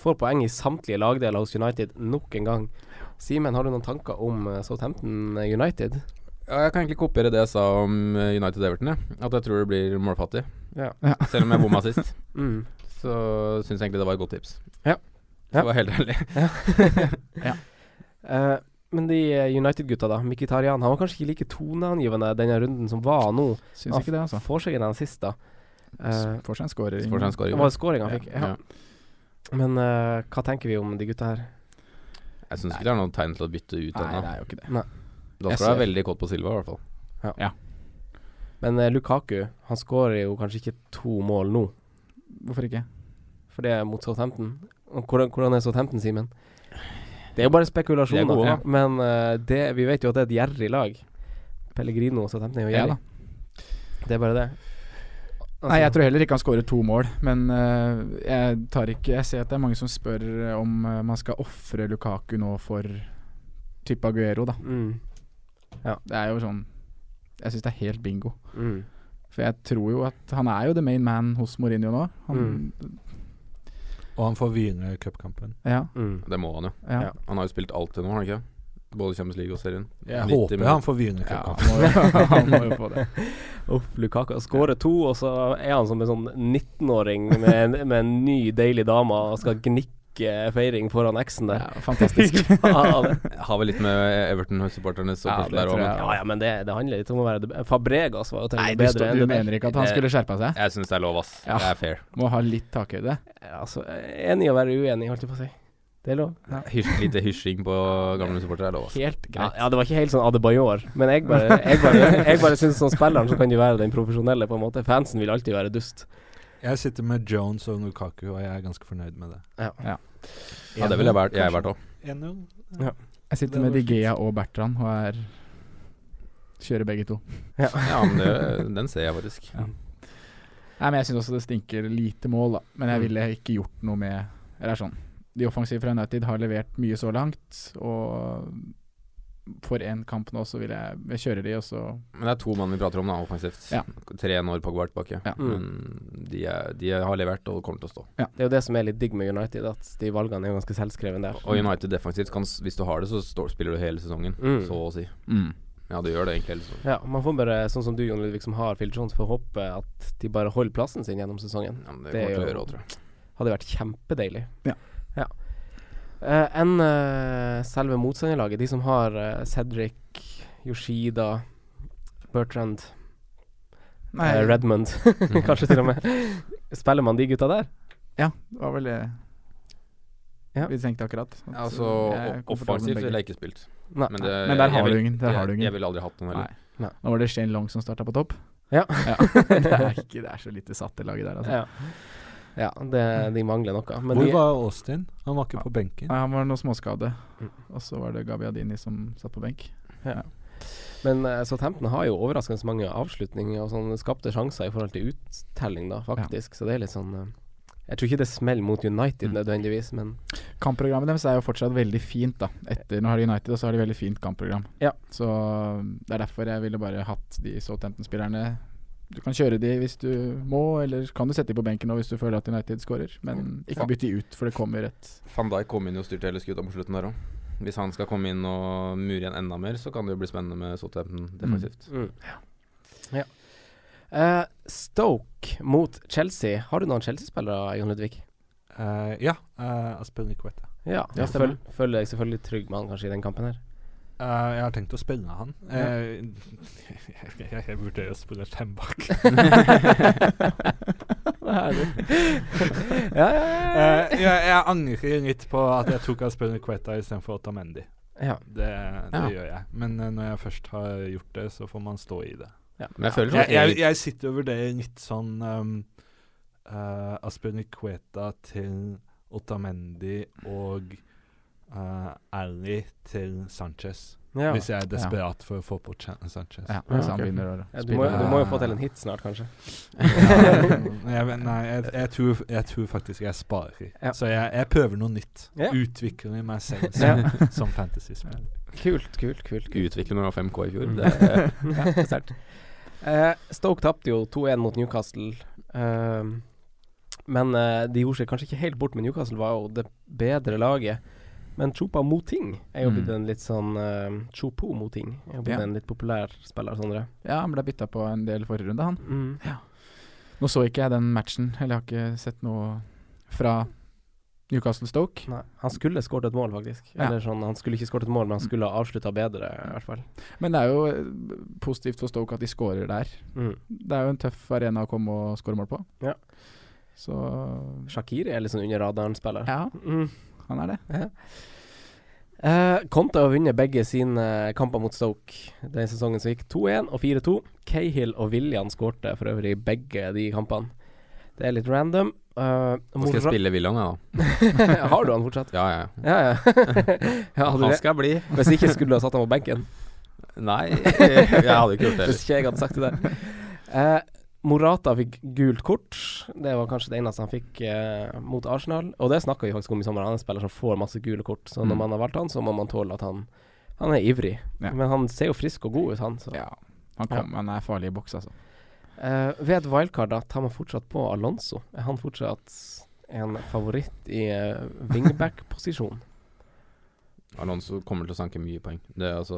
C: Får poeng i samtlige lagdeler hos United nok en gang. Simen, har du noen tanker om eh, Southampton eh, United?
E: Ja, jeg kan egentlig kopiere det jeg sa om eh, United Everton. jeg. At jeg tror det blir målfattig.
C: Ja.
E: <laughs> Selv om jeg
D: <laughs>
E: bomma sist,
C: Mm.
E: så syns jeg egentlig det var et godt tips.
C: Ja.
E: Så
C: Ja.
E: var helt ærlig.
C: Eh, men de eh, United-gutta, da. Mkhitaryan han var kanskje ikke like toneangivende denne runden som var nå.
D: Syns ikke det, altså.
C: Får seg en assist, da. Eh,
D: Får seg en scorer.
E: Får seg en
C: det
E: scoring.
C: var scoring han fikk. Ja.
E: Ja.
C: Men eh, hva tenker vi om de gutta her?
E: Jeg syns ikke det er noe tegn til å bytte ut
D: Nei, det
E: ennå.
D: er jo ikke det.
E: Da
D: Jeg
E: skal du være
D: ser-
E: veldig kåt på Silva, i hvert fall.
C: Men eh, Lukaku han skårer jo kanskje ikke to mål nå,
D: Hvorfor ikke?
C: for det er mot Southampton. Og Hvordan, hvordan er Southampton, Simen? Det er jo bare
E: De er
C: spekulasjoner,
E: gode, da.
C: men eh, det, vi vet jo at det er et gjerrig lag. Pellegrino og Southampton er jo
D: Ja,
C: gjerrig.
D: da.
C: det er bare det. Altså.
D: Nei, jeg tror heller ikke han skårer to mål, men eh, jeg tar ikke Jeg ser at det er mange som spør eh, om eh, man skal ofre Lukaku nå for type Aguero, da.
C: mm,
D: Det er jo sånn Jeg syns det er helt bingo.
C: mm.
D: For jeg tror jo at han er jo the main man hos Mourinho nå. Han,
B: Og han får hvile i cupkampen.
D: ja,
C: Mm.
E: Det må han jo.
D: ja.
C: Ja.
E: Han har jo spilt alt til nå, har han ikke? Både Champions League og serien.
B: Jeg
E: 90
B: håper
E: minutter.
B: han får hvile i
D: Ja,
B: cupkampen.
D: han, må jo, <laughs> han må jo få det.
C: Uff, Lukaku har skåret to, og så er han som en sånn 19-åring med, en- med en ny, deilig dame og skal gnikke feiring foran eksen der.
D: Ja, fantastisk.
C: Faen.
E: Har vel litt med Everton-supporternes
D: Ja,
E: oppførsel
D: det
E: der
D: tror
E: òg, men
D: jeg.
C: <laughs> Ja, ja, men det, det handler litt om å være det be- Fabregas var jo til og
D: Nei,
C: med
D: du,
C: bedre
D: stå,
C: enn
D: du
C: det der.
D: mener ikke at han skulle skjerpa seg?
E: jeg syns det er lov, ass.
D: Ja.
E: Det er fair.
D: Må ha litt takhøyde.
C: Altså, enig i å være uenig, holdt jeg på å si. Det er lov.
E: Hysj, lite hysjing på gamle supportere er lov, ass.
D: Helt
C: Ja,
D: greit.
C: ja, det var ikke helt sånn Adebayor, men jeg <laughs> bare, jeg bare, jeg bare syns som spilleren så kan du være den profesjonelle, på en måte. Fansen vil alltid være dust.
B: Jeg sitter med Jones og Nukaku, og jeg er ganske fornøyd med det.
E: Ja, det ville jeg vært, jeg vært òg.
B: 1-0.
D: Jeg sitter med Digea og Bertrand og er Kjører begge to.
E: <laughs> Ja, men det, den ser jeg faktisk.
D: Nei, men Jeg syns også det stinker lite mål, da. Men
E: Mm.
D: jeg ville ikke gjort noe med Eller er sånn De offensive fra United har levert mye så langt, og for én kamp nå, så vil jeg, jeg kjøre de, og så
E: Men det er to mann vi prater om, da, offensivt.
D: Ja.
E: Tre når Pogba er tilbake.
D: Ja.
E: Men de, er, de har levert og kommer til å stå.
C: Det er jo det som er litt digg med United, at de valgene er jo ganske selvskrevne der.
E: Og United defensivt, kan, s- hvis du har det, så står, spiller du hele sesongen,
C: Mm.
E: så å si. Ja, du gjør det egentlig hele sesongen.
C: Ja, man får bare, sånn som du, Jon Ludvig, som har Phil Jones, får håpe at de bare holder plassen sin gjennom sesongen.
E: Ja, men det
C: Det er
E: kommer til å
C: jo-
E: gjøre òg, tror jeg.
C: Hadde vært kjempedeilig.
D: Ja.
C: ja. Eh, enn eh, selve motstanderlaget, de som har eh, Cedric, Yoshida, Bertrand,
D: Nei,
C: eh, Redmond, <laughs>
E: Mhm.
C: kanskje til og med. Spiller man de gutta der?
D: Ja, det var vel det
C: Ja.
D: vi tenkte akkurat. At,
E: Altså,
D: uh, jeg er
E: o-
D: komfortabel med
E: offensivt
D: begge.
E: ville jeg ikke spilt.
C: Nei.
E: det,
D: Men der
E: jeg
D: har
E: vil-
D: du ingen, der har du
E: jeg-
D: ingen.
E: Jeg ville aldri hatt noen heller.
D: Nei.
C: Nei.
D: Nå var det Shane Long som starta på topp. <laughs>
C: Ja. <laughs>
D: det, er ikke, det er så lite satt, det laget der. Altså.
C: Ja, ja det, de mangler noe. Men
B: Hvor
C: de,
B: var Austin? Han var ikke på benken.
D: Nei, han var noe småskade,
C: Mm.
D: og så var det Gabiadini som satt på benk.
C: men eh, Southampton har jo overraskende så mange avslutninger og sånn skapte sjanser i forhold til uttelling, da, faktisk. Så det er litt sånn eh, Jeg tror ikke det smeller mot United nødvendigvis, men
D: Kampprogrammet deres er jo fortsatt veldig fint, da. Etter nå har de United, og så har de veldig fint kampprogram.
C: Ja.
D: Så um, det er derfor jeg ville bare hatt de Southampton-spillerne. Du kan kjøre de hvis du må, eller kan du sette de på benken nå hvis du føler at United skårer,
C: Mm.
D: men ikke bytte de ut, for det kommer et
E: Van Dijk kom inn og styrte hele skuta på slutten der òg. Hvis han skal komme inn og mure igjen enda mer, så kan det jo bli spennende med Southampton defensivt.
C: Eh, Stoke mot Chelsea. Har du noen Chelsea-spillere, Jon Ludvig?
B: Eh, ja, uh, Aspen Riquette.
C: Ja,
D: Ja,
C: jeg
D: stemmer.
C: føl føler deg selvfølgelig trygg med han kanskje i den kampen her.
B: Eh, jeg har tenkt å spille han. Eh, <laughs> jeg, jeg, jeg vurderer å spille fem bak.
C: <laughs> Ja, ja,
B: <laughs> Eh, jeg, jeg angrer litt på at jeg tok Aspen Riquetta istedenfor Otamendi.
C: ja.
B: Det, det gjør jeg. Men eh, når jeg først har gjort det, så får man stå i det.
E: Men jeg føler
B: Jeg,
E: sånn
B: jeg, jeg sitter og vurderer litt sånn um, eh, Aspen Riquetta til Otamendi og uh, Ali til Sanchez.
C: ja.
B: Hvis jeg er desperat for å få på Chan- Sanchez. <laughs>
D: Ja,
C: Ja,
D: hvis han
C: ok.
D: begynner å
C: Ja, du, må,
D: spille
C: du må jo få til en hit snart, kanskje.
B: Men jeg, vet- nei, jeg, jeg, tror, jeg tror faktisk jeg sparer.
C: Ja.
B: Så jeg, jeg prøver noe nytt.
C: Ja.
B: Utvikler meg selv som, som fantasyspiller.
C: Kult, kult, kult. kult.
E: Utvikle når du har 5K i fjor.
C: Mm.
E: Det er
C: <laughs> ja, sterkt. Eh, Stoke tapte jo 2-1 mot Newcastle. Ehm, men eh, de gjorde seg kanskje ikke helt bort, men Newcastle var jo det bedre laget. Men Chopa Moting er jo
D: Mm.
C: blitt en litt sånn uh, Chopo Moting er jo blitt
D: Ja.
C: en litt populær spiller, Sondre.
D: Ja, han ble bytta på en del forrige runde, han.
C: Mm.
D: Nå så ikke jeg den matchen, eller jeg har ikke sett noe fra Newcastle Stoke.
C: Nei, han skulle skåret et mål, faktisk.
D: Ja.
C: Eller sånn, Han skulle ikke skåret et mål, men han skulle ha avslutta bedre, i hvert fall.
D: Men det er jo eh, positivt for Stoke at de scorer der.
C: Mm.
D: Det er jo en tøff arena å komme og score mål på.
C: Ja.
D: Så
C: Shakiri er litt sånn under radaren-spiller.
D: ja,
C: Mm.
D: han er det.
C: Eh, Conte har vunnet begge sine eh, kamper mot Stoke den sesongen som gikk 2-1 og 4-2. Cahill og William skårte for øvrig i begge de kampene. Det er litt random. Eh,
E: Nå skal jeg spille William, jeg, da.
C: <laughs> har du han fortsatt?
E: Ja, ja. ja.
C: Ja, <laughs> ja. ja hadde
E: Han
C: det.
E: skal bli.
C: Hvis ikke skulle du ha satt ham på benken.
E: Nei, <laughs> jeg hadde ikke gjort det.
C: Hvis ikke jeg hadde sagt det der. Eh, Morata fikk gult kort. Det var kanskje det eneste han fikk eh, mot Arsenal. Og det snakka vi faktisk om i sommer. Han er en spiller som får masse gule kort. Så når
D: Mm.
C: man har valgt han, så må man tåle at han Han er ivrig.
D: Ja.
C: Men han ser jo frisk og god ut, han. Så.
D: Ja. Han, kom, han er farlig i boks, altså.
C: Eh, ved et wildcard da tar man fortsatt på Alonso. Er han fortsatt en favoritt i eh, wingback-posisjon?
E: <laughs> Alonso kommer til å sanke mye poeng. Det er altså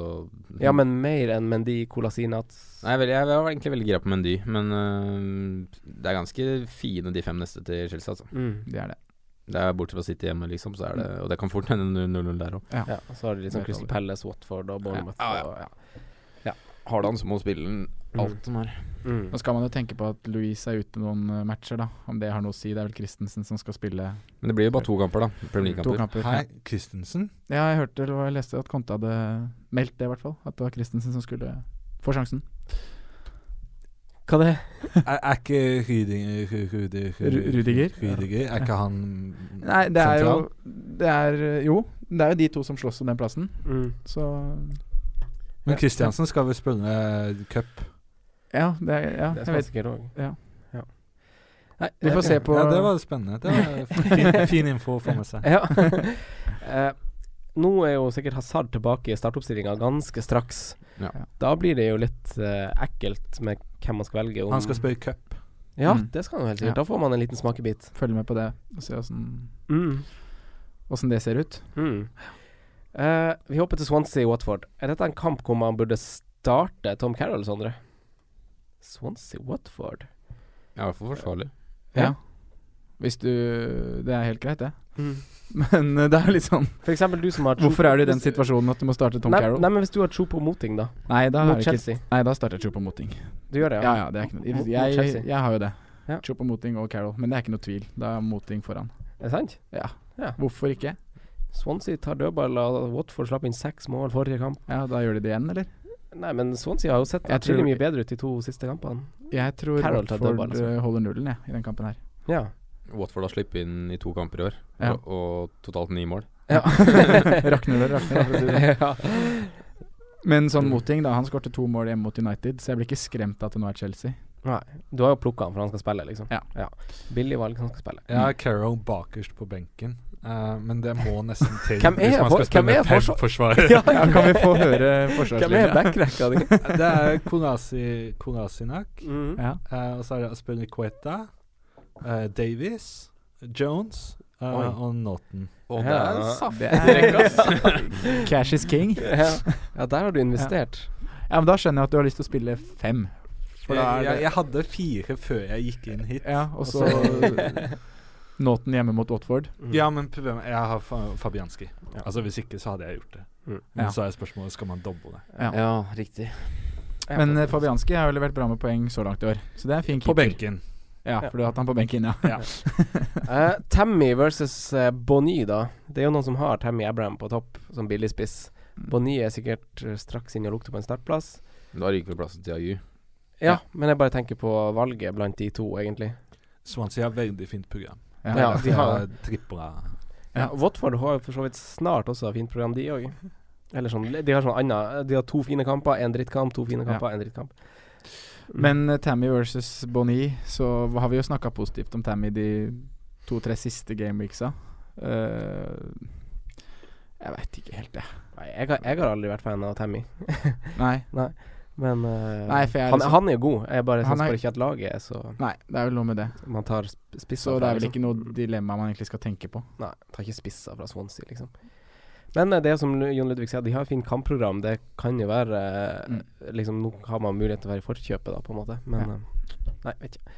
C: ja, men mer enn Mendy, Colasinat
E: Nei, vel, jeg var egentlig veldig gira på Mendy, men øh, det er ganske fine de fem neste til Chelsea, altså.
C: mm.
D: Det er det.
E: Det er Bortsett fra City hjemme, liksom, så er det Og det kan fort hende 0-0 der òg.
C: Ja, så har de liksom Crystal Palace, Watford og Bournemouth.
E: Ja, ja.
C: og-
E: Har du han, så må du spille den alt som er.
C: Mm.
D: Nå skal man jo tenke på at Louise er ute noen eh, matcher, da. Om det har noe å si. Det er vel Christensen som skal spille
E: Men det blir jo bare to kamper, da. Premier
D: to
E: League-kamper.
D: kamper.
B: Hei, Christensen.
D: Ja, jeg hørte eller jeg leste at Conte hadde meldt det, i hvert fall. At det var Christensen som skulle få sjansen.
C: Hva det
B: Er, er ikke Rydiger Ru- Rudi-
D: Ru- Rudiger?
B: Rudiger, Er ikke han
D: Nei, det er jo
B: sentral?
D: Det er eh, jo det er jo de to som slåss om den plassen,
C: Mm.
D: så
B: Men Christiansen skal vel spille cup.
D: Ja, det er, ja
C: Det
D: jeg
C: skal
D: vet.
C: sikkert òg.
D: Ja.
C: Nei,
D: Vi får se på
B: Ja, det var spennende. Det
D: <laughs>
B: var fin, fin info å få med seg.
C: Ja. <laughs> Eh, nå er jo sikkert Hazard tilbake i startoppstillinga ganske straks.
E: Ja.
C: Da blir det jo litt eh, ekkelt med hvem man skal velge. Om.
B: Han skal spille cup.
C: Ja,
D: Mm.
C: det skal han jo helt sikkert. Da
D: Ja.
C: får man en liten smakebit.
D: Følge med på det og se åssen
B: Mm.
D: åssen det ser ut.
C: Mm. Eh, vi hopper til Swansea i Watford. Er dette en kamp hvor man burde starte Tom Carroll, Sondre? Swansea Watford?
E: Ja, i hvert fall forsvarlig.
C: Ja.
D: Hvis du Det er helt greit, det.
C: Mm.
D: <laughs> Men eh, det er jo litt sånn
C: For eksempel du som har
D: Hvorfor er du i den situasjonen at du må starte Tom
C: nei,
D: Carroll?
C: nei, men hvis du har tro på moting, da.
D: Nei, da
C: Mot
D: er det ikke
C: Chelsea.
D: Nei, da starter Chopa Moting.
C: Du gjør det,
D: Ja, ja, det er ikke noe
C: Mot- mot
D: Jeg,
C: Chelsea.
D: jeg, har jo det.
C: Ja.
D: Chopa Moting og Carroll. Men det er ikke noe tvil. Da er Moting foran.
C: Er det sant?
D: Ja.
C: Ja.
D: Hvorfor ikke?
C: Swansea tar dødball, og Watford slapp inn seks mål forrige kamp.
D: Ja, da gjør de det igjen, eller?
C: Nei, men Swansea har jo sett
D: Jeg
C: atskillig
D: tror-
C: mye bedre ut de to siste kampene.
D: Jeg tror
C: Carroll tar
D: Watford
C: dødball, altså.
D: eh, holder nullen, jeg, i den kampen her.
C: Ja.
E: Watford har sluppet inn i to kamper i år,
D: Ja.
E: og, og totalt ni mål.
D: <laughs>
C: Ja.
D: rakner det, rakner det. for å si det. <laughs>
C: ja.
D: Men sånn Moting, da. Han skårte to mål hjemme mot United, så jeg blir ikke skremt av at det nå er Chelsea.
C: Nei, du har jo plukka han for han skal spille, liksom.
D: Ja.
C: Billig valg, han skal spille.
B: Ja, Carol bakerst på benken. Eh, men det må
D: <laughs>
B: nesten til
C: Hvem er
B: hvis man
C: for-
B: skal
C: hvem er
B: spille
C: forsvar-
B: Pep-forsvaret.
D: <laughs> Ja, kan vi få <laughs> høre
C: Hvem er
D: forsvarslinja?
C: backrekka
D: <laughs>
C: di?
B: <laughs> Det er Konasi, Konasinak.
C: Mm.
D: Ja.
B: Eh, og så er det Aspelin Queta, eh, Davies, Jones eh,
C: Oi.
B: og Naughton.
E: Og
C: det er en
D: Det er- <laughs> Cash is king.
C: Ja. ja, der har du investert.
D: Ja, men Da skjønner jeg at du har lyst til å spille fem. For da
B: jeg,
D: er
B: jeg,
D: det
B: jeg hadde fire før jeg gikk inn hit.
D: Ja, og så
E: <laughs>
D: Nåten hjemme mot Watford.
B: Ja, men problemet Jeg har Fa- Fabianski. Altså Hvis ikke, så hadde jeg gjort det.
C: Mm.
B: Men
D: Ja.
B: så er spørsmålet skal man doble det.
D: Ja.
E: riktig.
C: Ja,
D: Men
C: for-
D: eh, Fabianski har jo levert bra med poeng så langt i år, så det er en fin
B: På
D: keeper.
B: benken.
D: Ja, for du har hatt han på benken, ja.
C: Eh, Tammy versus eh, Bonny, da. Det er jo noen som har Tammy Abraham på topp som billigspiss.
D: Mm.
C: Bonny er sikkert eh, straks inne og lukter på en startplass.
E: Da ryker vel plassen til Ayu.
C: Ja, men jeg bare tenker på valget blant de to, egentlig.
B: Swansea har veldig fint program.
D: Ja,
C: Ja,
B: Derfor
C: de har
B: jeg tripla.
D: Ja.
C: Ja. Watford har jo for så vidt snart også fint program, de òg. Eller sånn De har sånn anna De har to fine kamper, én drittkamp, to fine kamper, én drittkamp.
D: Men eh, Tammy versus Bonny, så har vi jo snakka positivt om Tammy de to-tre siste gameweeksa. Eh, jeg veit ikke helt, jeg.
C: Nei, jeg har, jeg har aldri vært fan av Tammy,
D: Nei.
C: men eh,
D: Nei, for jeg er
C: han,
D: liksom-
C: han er jo god. Jeg bare
D: Han
C: syns
D: er-
C: bare ikke at laget er så
D: Nei, det er vel noe med det.
C: Man tar sp- spisser
D: Så det
C: fra,
D: er vel
C: liksom.
D: ikke noe dilemma man egentlig skal tenke på.
C: Nei, tar ikke spisser fra Swansea, liksom. Men eh, det som Lu- Jon Ludvig sier, de har et fint kampprogram. Det kan jo være eh, liksom, Nå har man mulighet til å være i forkjøpet, da, på en måte. Men eh, nei, vet ikke.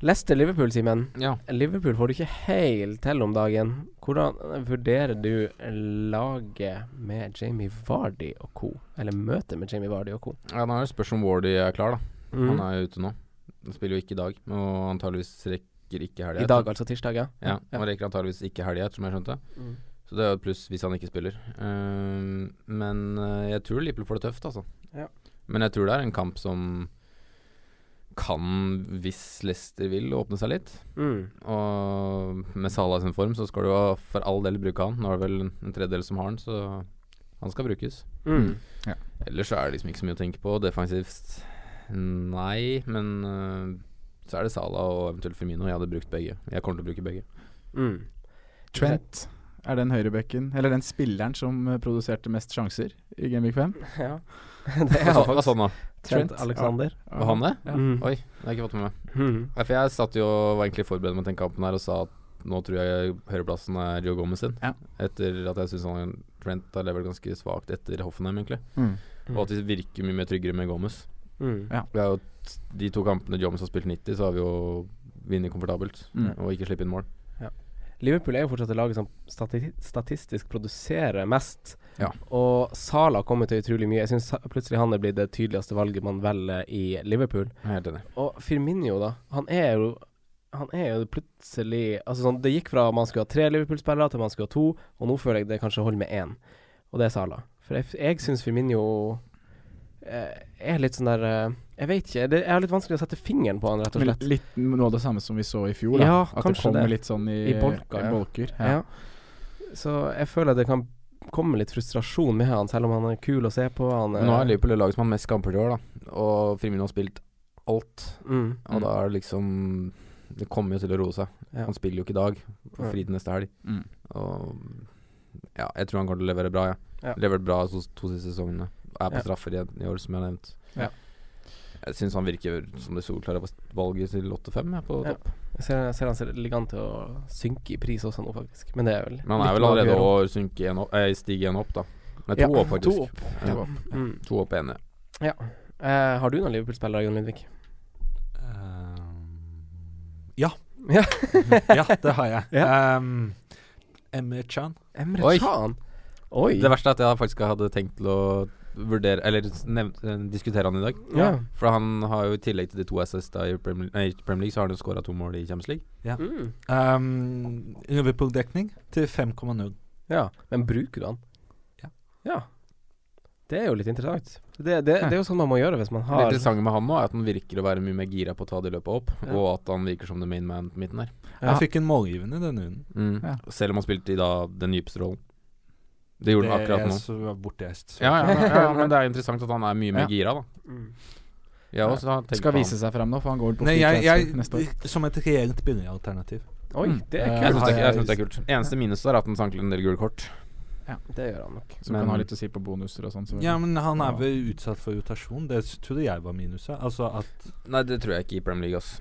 C: Leicester-Liverpool, Simen.
E: Ja.
C: Liverpool får du ikke helt til om dagen. Hvordan vurderer du laget med Jamie Vardy og co.? Eller møtet med Jamie Vardy og co.?
E: ja, nå er det spørs om Wardy er klar, da. Han
C: Mm.
E: er jo ute nå. Han spiller jo ikke i dag, og antageligvis rekker ikke helga.
C: I dag, altså tirsdag, ja.
E: Ja, han rekker antageligvis ikke helga, ettersom jeg skjønte. Så det er jo et pluss hvis han ikke spiller. Ehm, men eh, jeg tror Liverpool får det tøft, altså.
C: Ja.
E: Men jeg tror det er en kamp som kan, hvis Leicester vil, åpne seg litt.
C: Mm.
E: Og med Salah sin form, så skal du jo for all del bruke han. Nå er det vel en tredjedel som har han, så han skal brukes.
C: Mm.
E: Ellers så er det liksom ikke så mye å tenke på. Defensivt, nei. Men øh, så er det Salah og eventuelt Firmino. Jeg hadde brukt begge. Jeg kommer til å bruke begge.
C: Mm.
D: Trent er den høyrebekken, eller den spilleren som eh, produserte mest sjanser i Gameweek 5.
C: Ja. <laughs> Det
E: Hva
C: er
E: sa-
C: faktisk
E: hva sa han da?
C: Trent
D: Trent.
C: Alexander.
E: Var han det?
C: Mm.
E: Oi, det har jeg ikke fått med meg.
C: Mm.
E: Nei, For jeg satt jo og var egentlig forberedt med den kampen her og sa at nå tror jeg høyreplassen er Joe Gomez sin.
D: Ja.
E: Etter at jeg syns han Trent har levert ganske svakt etter Hoffenheim, egentlig.
D: Mm.
E: Og at de virker mye mer tryggere med Gomez.
C: Mm.
E: Vi har jo t- de to kampene Gomez har spilt 90, så har vi jo vunnet komfortabelt.
D: Mm.
E: Og ikke slippe inn mål.
C: Liverpool er jo fortsatt det laget som stati statistisk produserer mest.
E: Ja.
C: Og Sala kommer til utrolig mye. Jeg syns plutselig han er blitt det tydeligste valget man velger i Liverpool.
E: Jeg er helt enig.
C: Og Firmino, da. Han er jo han er jo plutselig Altså sånn, Det gikk fra man skulle ha tre Liverpool-spillere til man skulle ha to, og nå føler jeg det kanskje holder med én, og det er Salah. For jeg, jeg syns Firmino eh, er litt sånn der eh, Jeg vet ikke. Det, jeg har litt vanskelig å sette fingeren på han, rett og
D: Men
C: slett.
D: litt noe av det samme som vi så i fjor. Da.
C: Ja,
D: At det
C: kanskje
D: kommer
C: det.
D: litt sånn i,
C: I bolker, ja.
D: bolker,
C: Ja. Så jeg føler det kan komme litt frustrasjon med han, selv om han er kul å se på. Han,
E: Men nå er Liverpool det laget som har mest kamper i år, da. Og Frimino har spilt alt.
C: mm,
E: Og da er det liksom Det kommer jo til å roe seg.
C: Ja.
E: Han spiller jo ikke i dag. Får
C: Ja.
E: fri til neste helg.
D: Mm.
E: Og ja, jeg tror han kommer til å levere bra, jeg.
C: Ja.
E: Levert bra de to siste sesongene. Er på
C: Ja.
E: straffer igjen i år, som jeg har nevnt.
C: Ja.
E: Jeg syns han virker som det solklare valget til 8-5 jeg, på
C: Ja.
E: topp.
C: Jeg ser, jeg ser han ser ligger an til å synke i pris også nå, faktisk. Men det er vel
E: Men han
C: litt
E: er vel allerede å
C: lavere.
E: synke en opp, eh, stige en opp, da. Nei, to
C: Ja,
E: opp, faktisk.
C: to opp.
E: Ja.
D: To opp.
C: Mm.
E: To opp ene.
C: Ja. Eh, har du noen Liverpool-spillere, Jon Lindvik?
B: Ehm, ja.
C: Ja.
B: <laughs> ja, det har jeg.
C: Ja.
B: Ehm, Emre Chan.
C: Emre
E: Oi.
C: Can. Oi.
E: Det verste er at jeg faktisk hadde tenkt til å vurdere Eller nev eh, diskutere han i dag.
C: ja.
E: For han har jo i tillegg til de to assista i Premier, nei, ikke Premier League, så har han jo skåra to mål i Champions League.
C: Mm.
B: Ehm, Liverpool-dekning til 5,0.
C: ja. Men bruker du han?
B: Ja.
C: ja. Det er jo litt interessant. Det, det, det er jo sånn man må gjøre hvis man
E: Det
C: har
E: interessante med han nå er at han virker å være mye mer gira på å ta de løpa opp,
C: Ja.
E: og at han virker som the main man på midten her.
C: Ja.
B: Jeg fikk en målgivende denne runden.
E: Mm.
D: Ja.
E: Selv om han spilte i da den dypeste rollen. Det gjorde han akkurat nå.
B: nå. Borti jeg s-
E: Ja, ja, ja, men det er interessant at han er <laughs> mye mer
D: Ja.
E: gira, da.
C: Mm.
E: Jeg har også tenkt
D: Skal
E: på han.
D: vise seg fram nå, for han går vel på
B: Nei,
D: free
B: jeg,
D: transfer neste år.
B: jeg, som et reelt billig alternativ.
C: Oi, det er
D: Mm.
E: Jeg
C: kult.
E: syns det, er- jeg synes det er kult. Eneste minus er at han sank til en del gule kort.
C: Det gjør han nok.
D: Som
E: Men-
D: kan ha litt å si på bonuser og sånn. selvfølgelig.
B: Ja, men han er
D: Ja.
B: vel utsatt for rotasjon. Det s- trodde jeg var minuset. Altså at
E: Nei, det tror jeg ikke i Premier League, ass.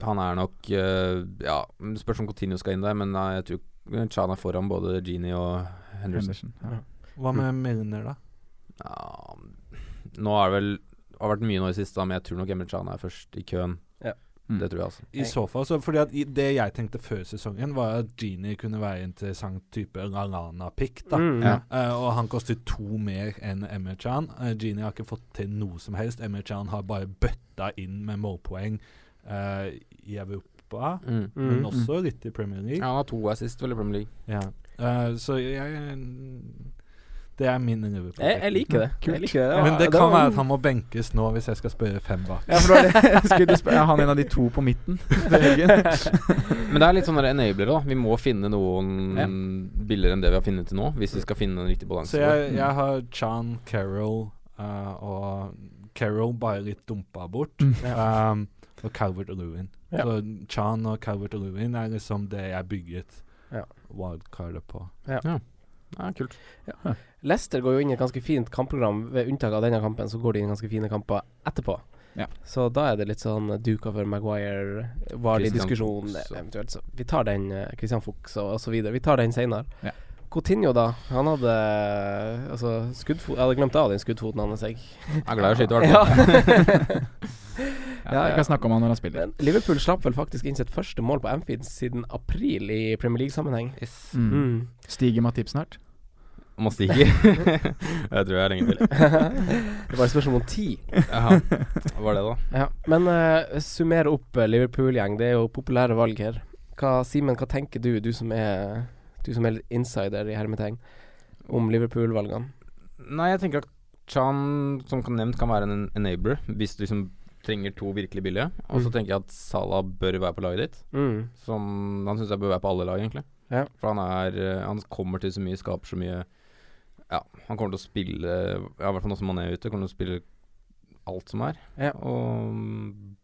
E: Han er nok øh, Ja, det spørs om Coutinho skal inn der, men nei, jeg tror Chan er foran både Genie og Henderson.
D: Henderson. Ja.
B: Hva med Milner, da?
E: Mm. Ja, nå er det vel det har vært mye nå i siste, da, men jeg tror nok Emre Can er først i køen.
C: Ja.
D: Mm.
E: Det tror jeg, altså.
B: I så fall, så fordi at i- Det jeg tenkte før sesongen, var at Genie kunne være en interessant type Lalana-pick. da
C: Mm.
D: Ja.
B: Eh, og han koster to mer enn Emre Can. Eh, Genie har ikke fått til noe som helst. Emre Can har bare bøtta inn med målpoeng eh, i Europa, men
C: Mm.
B: også litt i Premier League.
E: Ja, han har to assist vel i Premier League.
B: Ja. Eh, så jeg Det er min Liverpool.
C: Jeg, jeg liker det. Jeg liker det. det. var-
B: Men det
C: var-
B: kan være at han må benkes nå hvis jeg skal spørre fem bak.
D: Ja, for det var det jeg <laughs> skulle spørre. Er han en av de to på
E: <laughs>
D: midten til helgen?
E: Men det er litt sånn der enabler, da. Vi må finne noen
D: Ja.
E: billigere enn det vi har funnet til nå, hvis vi skal finne en riktig balanse.
B: Så jeg, jeg har Chan, Carol eh, og Carol bare litt dumpa bort.
E: Mm.
B: Um, og Calvert og Lewin.
C: Ja.
B: Så Chan og Calvert og Lewin er liksom det jeg bygget
C: Ja.
B: wildcardet på.
E: Ja, kult.
C: Leicester går jo inn i et ganske fint kampprogram. Ved unntak av denne kampen, så går de inn i ganske fine kamper etterpå.
D: Ja.
C: Så da er det litt sånn Duka for Maguire, var det
E: Christian
C: diskusjon
E: Fuchs og-
C: eventuelt. Så vi tar den eh, Christian Fuchs og, og så videre. Vi tar den senere.
D: Ja.
C: Coutinho, da. Han hadde altså, skuddfot Jeg hadde glemt av den skuddfoten hans, jeg.
E: Jeg er glad i å skyte, i hvert
C: Ja.
E: fall. Mm.
D: <laughs> Ja, jeg kan snakke om han når han spiller.
C: <laughs> Men Liverpool slapp vel faktisk inn sitt første mål på Anfield siden april i Premier League-sammenheng.
E: Yes.
D: Mm.
C: Mm.
D: Stiger Matip snart?
E: Må stikke. <laughs> jeg tror jeg har lenge til.
C: Det var et spørsmål om tid.
E: Jaha. Hva var det, da?
C: Ja, men eh, summer opp eh, Liverpool-gjeng. Det er jo populære valg her. Hva, Simen, hva tenker du, du som er, du som er litt insider i hermetegn, om Liverpool-valgene?
E: Nei, jeg tenker at Chan, som kan- nevnt, kan være en enabler hvis du liksom trenger to virkelig billige. Og så
C: Mm.
E: tenker jeg at Salah bør være på laget ditt.
C: Mm.
E: Som han syns jeg bør være på alle lag, egentlig.
C: Ja.
E: For han er eh, Han kommer til så mye, skaper så mye Ja, han kommer til å spille Ja, i hvert fall nå som han er ute, kommer til å spille alt som er.
C: Ja.
E: Og mm,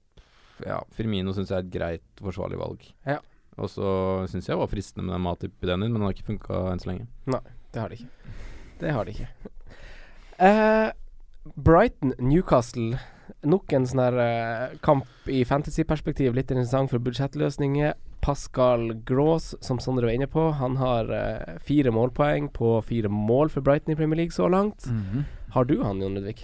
E: ja, Firmino syns jeg er et greit, forsvarlig valg.
C: Ja.
E: Og så syns jeg det var fristende med den Matip i den men den har ikke funka enn så lenge.
C: Det har de ikke. Det har de ikke. <laughs> Eh, Brighton, Newcastle. Nok en sånn her eh, kamp i fantasy-perspektiv, litt interessant for budsjettløsninger. Pascal Grås, som Sondre var inne på, han har eh, fire målpoeng på fire mål for Brighton i Premier League så langt. Har du han, Jon Ludvig?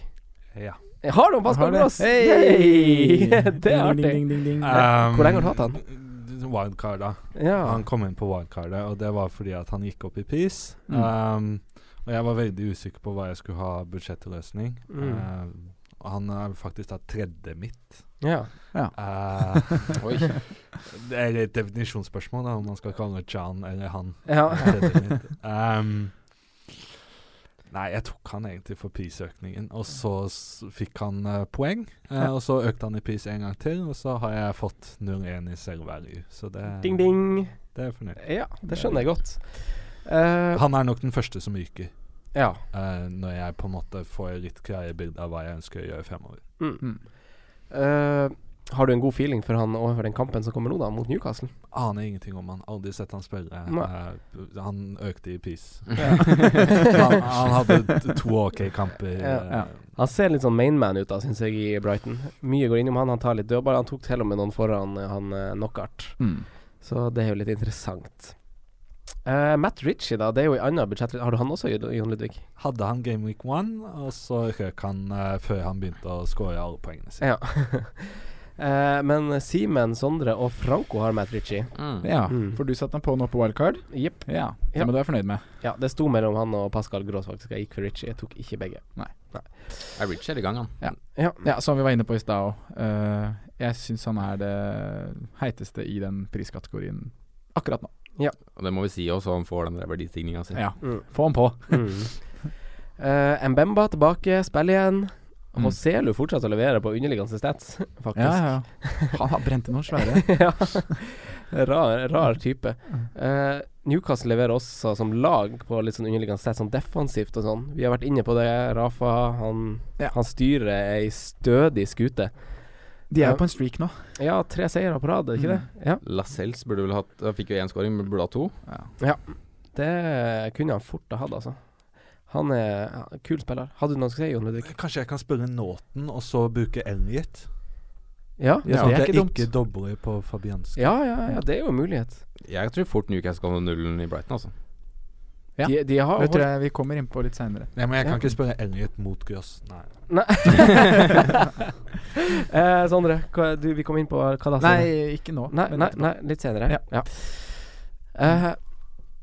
B: Ja.
C: Jeg har du han,
D: Mhm. Har
C: Pascal
D: det.
C: Grås?
D: Hei!
C: <laughs> det er
D: Ding,
C: artig.
D: ding, ding, ding, ding.
C: Hvor lenge har du hatt han?
B: um, Wildcard, da.
C: Ja.
B: Han kom inn på wildcardet, og det var fordi at han gikk opp i pris.
D: Mm.
B: Um, og jeg var veldig usikker på hva jeg skulle ha budsjettløsning.
C: Mm.
B: Uh, og han er faktisk da tredje mitt.
C: ja. <laughs>
B: Uh,
E: Oi.
B: <laughs> det er et definisjonsspørsmål da, om man skal kalle Jan eller han
C: ja.
B: tredje mitt. Um, nei, jeg tok han egentlig for prisøkningen, og så s fikk han eh, poeng. eh,
D: Ja.
B: Og så økte han i pris en gang til, og så har jeg fått 0-1 i selvvalue. Så det,
C: <laughs> Ding, ding.
B: det er jeg fornøyd.
C: Ja, det skjønner jeg godt. Eh,
B: Han er nok den første som ryker,
C: ja.
B: eh, når jeg på en måte får litt klare bilde av hva jeg ønsker å gjøre fremover.
C: Mm. Eh, har du en god feeling for han overfor den kampen som kommer nå, da, mot Newcastle?
B: Aner ingenting om han, aldri sett han spille.
C: Nei.
B: Eh, han økte i pris. <laughs> han,
C: han,
B: han hadde t- to OK kamper.
C: Ja.
B: eh,
C: ser litt sånn mainman ut, da, syns jeg, i Brighton. Mye går innom han, han tar litt dødball. Han tok til og med noen foran eh, han eh, knockout,
D: Mm.
C: så det er jo litt interessant. Eh, Matt Ritchie, da, det er jo i annet budsjett Har du han også, Jon Ludvig?
B: Hadde han Game Week 1, og så røk han eh, før han begynte å score alle poengene sine.
C: Ja. <laughs> Eh, men Simen, Sondre og Franco har Matt Ritchie.
D: Ja,
C: Mm.
D: for du satte han på nå på wildcard?
C: Jepp.
D: Ja, det
C: Ja.
D: må du være fornøyd med.
C: Ja, det sto mellom han og Pascal Grås, faktisk. Jeg gikk for Ritchie, jeg tok ikke begge.
E: Er Rich hele gang, han.
C: Ja.
D: Ja, Som vi var inne på i stad òg. jeg syns han er det heiteste i den priskategorien akkurat nå.
E: Og det må vi si også, han får den der verdistigninga si.
D: Ja,
C: Mm.
D: Få han på.
C: Mm. Eh, Mbemba tilbake, spiller igjen.
D: Mm.
C: Og Selu fortsatt å levere på underliggende stats, <laughs> faktisk.
D: Ja, ja,
C: <laughs>
D: ja. Han har brent inn noen svære.
C: Ja. rar, rar type. Eh, Newcastle leverer også som lag på litt sånn underliggende sett, sånn defensivt og sånn. Vi har vært inne på det. Rafa, han,
D: Ja.
C: han styrer ei stødig skute.
D: De er jo på en streak nå.
C: Ja, tre seire på rad, er det ikke det?
D: Mm.
C: Ja.
E: Lascelles burde vel hatt Han fikk jo én scoring, men burde ha to.
C: Det kunne han fort ha hatt, altså. Han er ja, kul spiller. Hadde du noe å si, Jon Ludvig?
B: Kanskje jeg kan spille Nåten, og så bruke Elliot?
C: Ja?
D: Ja,
B: sånn
D: det er
B: at jeg
D: ikke dumt.
B: ikke dobler på Fabianski.
C: Ja, ja, ja, det er jo en mulighet.
E: Jeg tror fort Newcastle kan ha nullen i Brighton, altså.
D: Ja.
C: De, de har
D: Det tror jeg vi kommer innpå litt seinere.
B: Nei, men jeg
C: Ja.
B: kan ikke spille Elliot mot Gross. Nei.
C: Eh, Sondre, hva, du, vi kom inn på hva da? Sondre?
D: Nei, Altså, ikke nå.
C: nei,
D: men
C: nei,
D: etterpå.
C: nei, litt senere.
D: Ja.
C: Eh,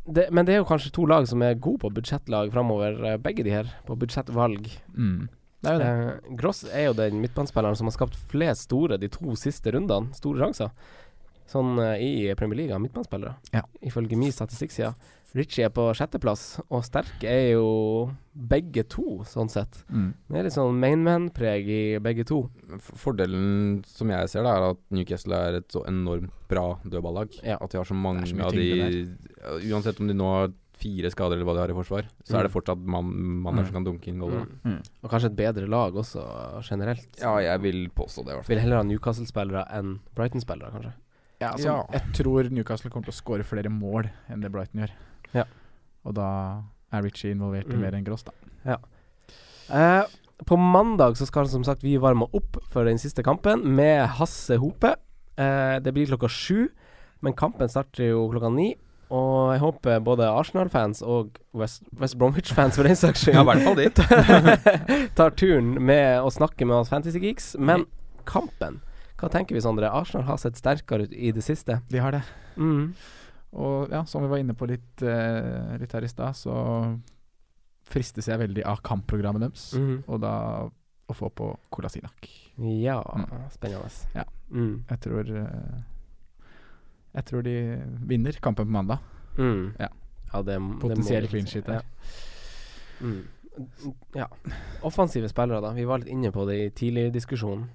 C: det, men det er jo kanskje to lag som er gode på budsjettlag framover, eh, begge de her, på budsjettvalg.
D: Mm. Det er jo det.
C: Eh, Gross er jo den midtbanespilleren som har skapt flest store de to siste rundene, store sjanser, sånn eh, i Premier League av midtbanespillere,
D: Ja.
C: ifølge min statistikkside. Ritchie er på sjetteplass, og sterke er jo begge to, sånn sett.
D: Mm.
C: Det er litt sånn mainman-preg i begge to.
E: Men f- Fordelen som jeg ser, da er at Newcastle er et så enormt bra dødballag.
C: Ja.
E: At de har så mange
D: Det er så mye
E: av de ja, Uansett om de nå har fire skader eller hva de har i forsvar, så
C: Mm.
E: er det fortsatt mann mann der
D: Mm.
E: som kan dunke inn goal. da.
D: Mm.
C: Og kanskje et bedre lag også, generelt.
E: Ja, jeg vil påstå det, i hvert
C: Vil heller ha Newcastle-spillere enn Brighton-spillere, kanskje.
D: Ja, altså,
E: Ja.
D: Jeg tror Newcastle kommer til å skåre flere mål enn det Brighton gjør.
C: Ja.
D: Og da er Ritchie involvert i
C: Mm.
D: mer enn Gross, da.
C: Eh, på mandag så skal som sagt vi varme opp for den siste kampen med Hasse Hope. Eh, det blir klokka sju, men kampen starter jo klokka ni. Og jeg håper både Arsenal-fans og West, West Bromwich-fans for den saks skyld
E: Ja, i hvert fall
D: <laughs>
E: de.
C: <laughs> tar turen med å snakke med oss Fantasy Geeks. Men kampen, hva tenker vi, Sondre? Arsenal har sett sterkere ut i det siste.
D: De har det.
C: Mm.
D: Og ja, som vi var inne på litt, eh, litt her i stad, så fristes jeg veldig av kampprogrammet deres.
C: Mm.
D: Og da å få på Kolasinac.
C: Ja,
D: Mm.
C: spennende.
D: Ja.
C: Mm.
D: Jeg tror eh, Jeg tror de vinner kampen på mandag.
C: Mm.
D: Ja.
C: Ja, det, m- det må
D: Potensiell
C: vi
D: clean
C: si,
D: sheet der.
C: Ja. Mm. ja. Offensive spillere, da. Vi var litt inne på det i tidligere diskusjon.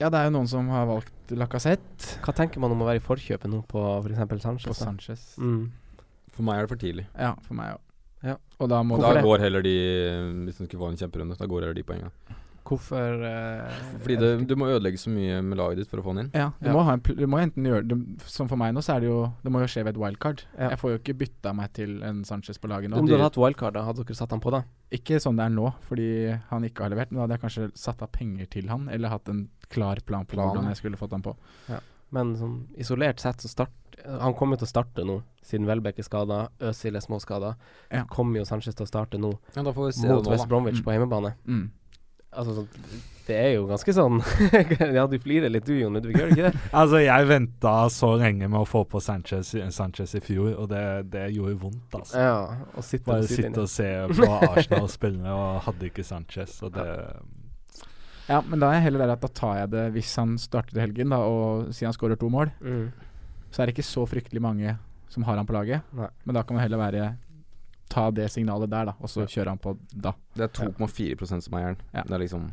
D: Ja, det er jo noen som har valgt Lacassette
C: Hva tenker man om å være i forkjøpet nå på f.eks. Sanchez?
D: på
C: da?
D: Sanchez.
C: Mm.
E: For meg er det for tidlig.
D: Ja, for meg òg.
C: Ja.
D: Og da må
E: Da
C: Hvorfor
D: da
C: det?
E: går heller de Hvis de skulle få en kjemperunde, da går heller de poengene.
C: Hvorfor eh,
E: Fordi det, du må ødelegge så mye med laget ditt for å få den inn.
D: Ja, du,
C: Ja.
D: Må ha en, pl- du må enten gjøre det Som for meg nå, så er det jo Det må jo skje ved et wildcard.
C: Ja.
D: Jeg får jo ikke bytta meg til en Sanchez på laget nå.
C: Om du hadde hatt wildcard, da hadde dere satt han på, da?
D: Ikke sånn det er nå, fordi han ikke har levert. Men da hadde jeg kanskje satt av penger til han, eller hatt en klar plan på
E: Plan,
D: hvordan
E: ja.
D: jeg skulle fått han på.
C: Men sånn, isolert sett så start Han kommer jo til å starte nå, siden Welbeck er skada, Øzil er småskada.
D: Ja.
C: Kommer jo Sanchez til å starte nå,
E: Ja, da får vi se det
C: mot
E: nå,
C: West
E: da.
C: Bromwich
D: Mm.
C: på hjemmebane.
D: Mm.
C: Altså, sånn, det er jo ganske sånn <laughs> Ja, du flirer litt du, Jon Ludvig, gjør du ikke det?
B: Altså, jeg venta så lenge med å få på Sanchez, i- Sanchez i fjor, og det, det gjorde vondt, altså.
C: <laughs> Ja, og sitter
B: Bare
C: på sidelinjen.
B: sitte og se på Arsenal spille og hadde ikke Sanchez, og det
D: Ja, men da er jeg heller der at da tar jeg det hvis han starter i helgen, da, og sier han skårer to mål.
C: mm.
D: Så er det ikke så fryktelig mange som har han på laget.
C: Nei.
D: Men da kan man heller være Ta det signalet der, da, og så kjøre han på da.
E: Det er 2,4 som eier den.
D: Ja.
E: Det er liksom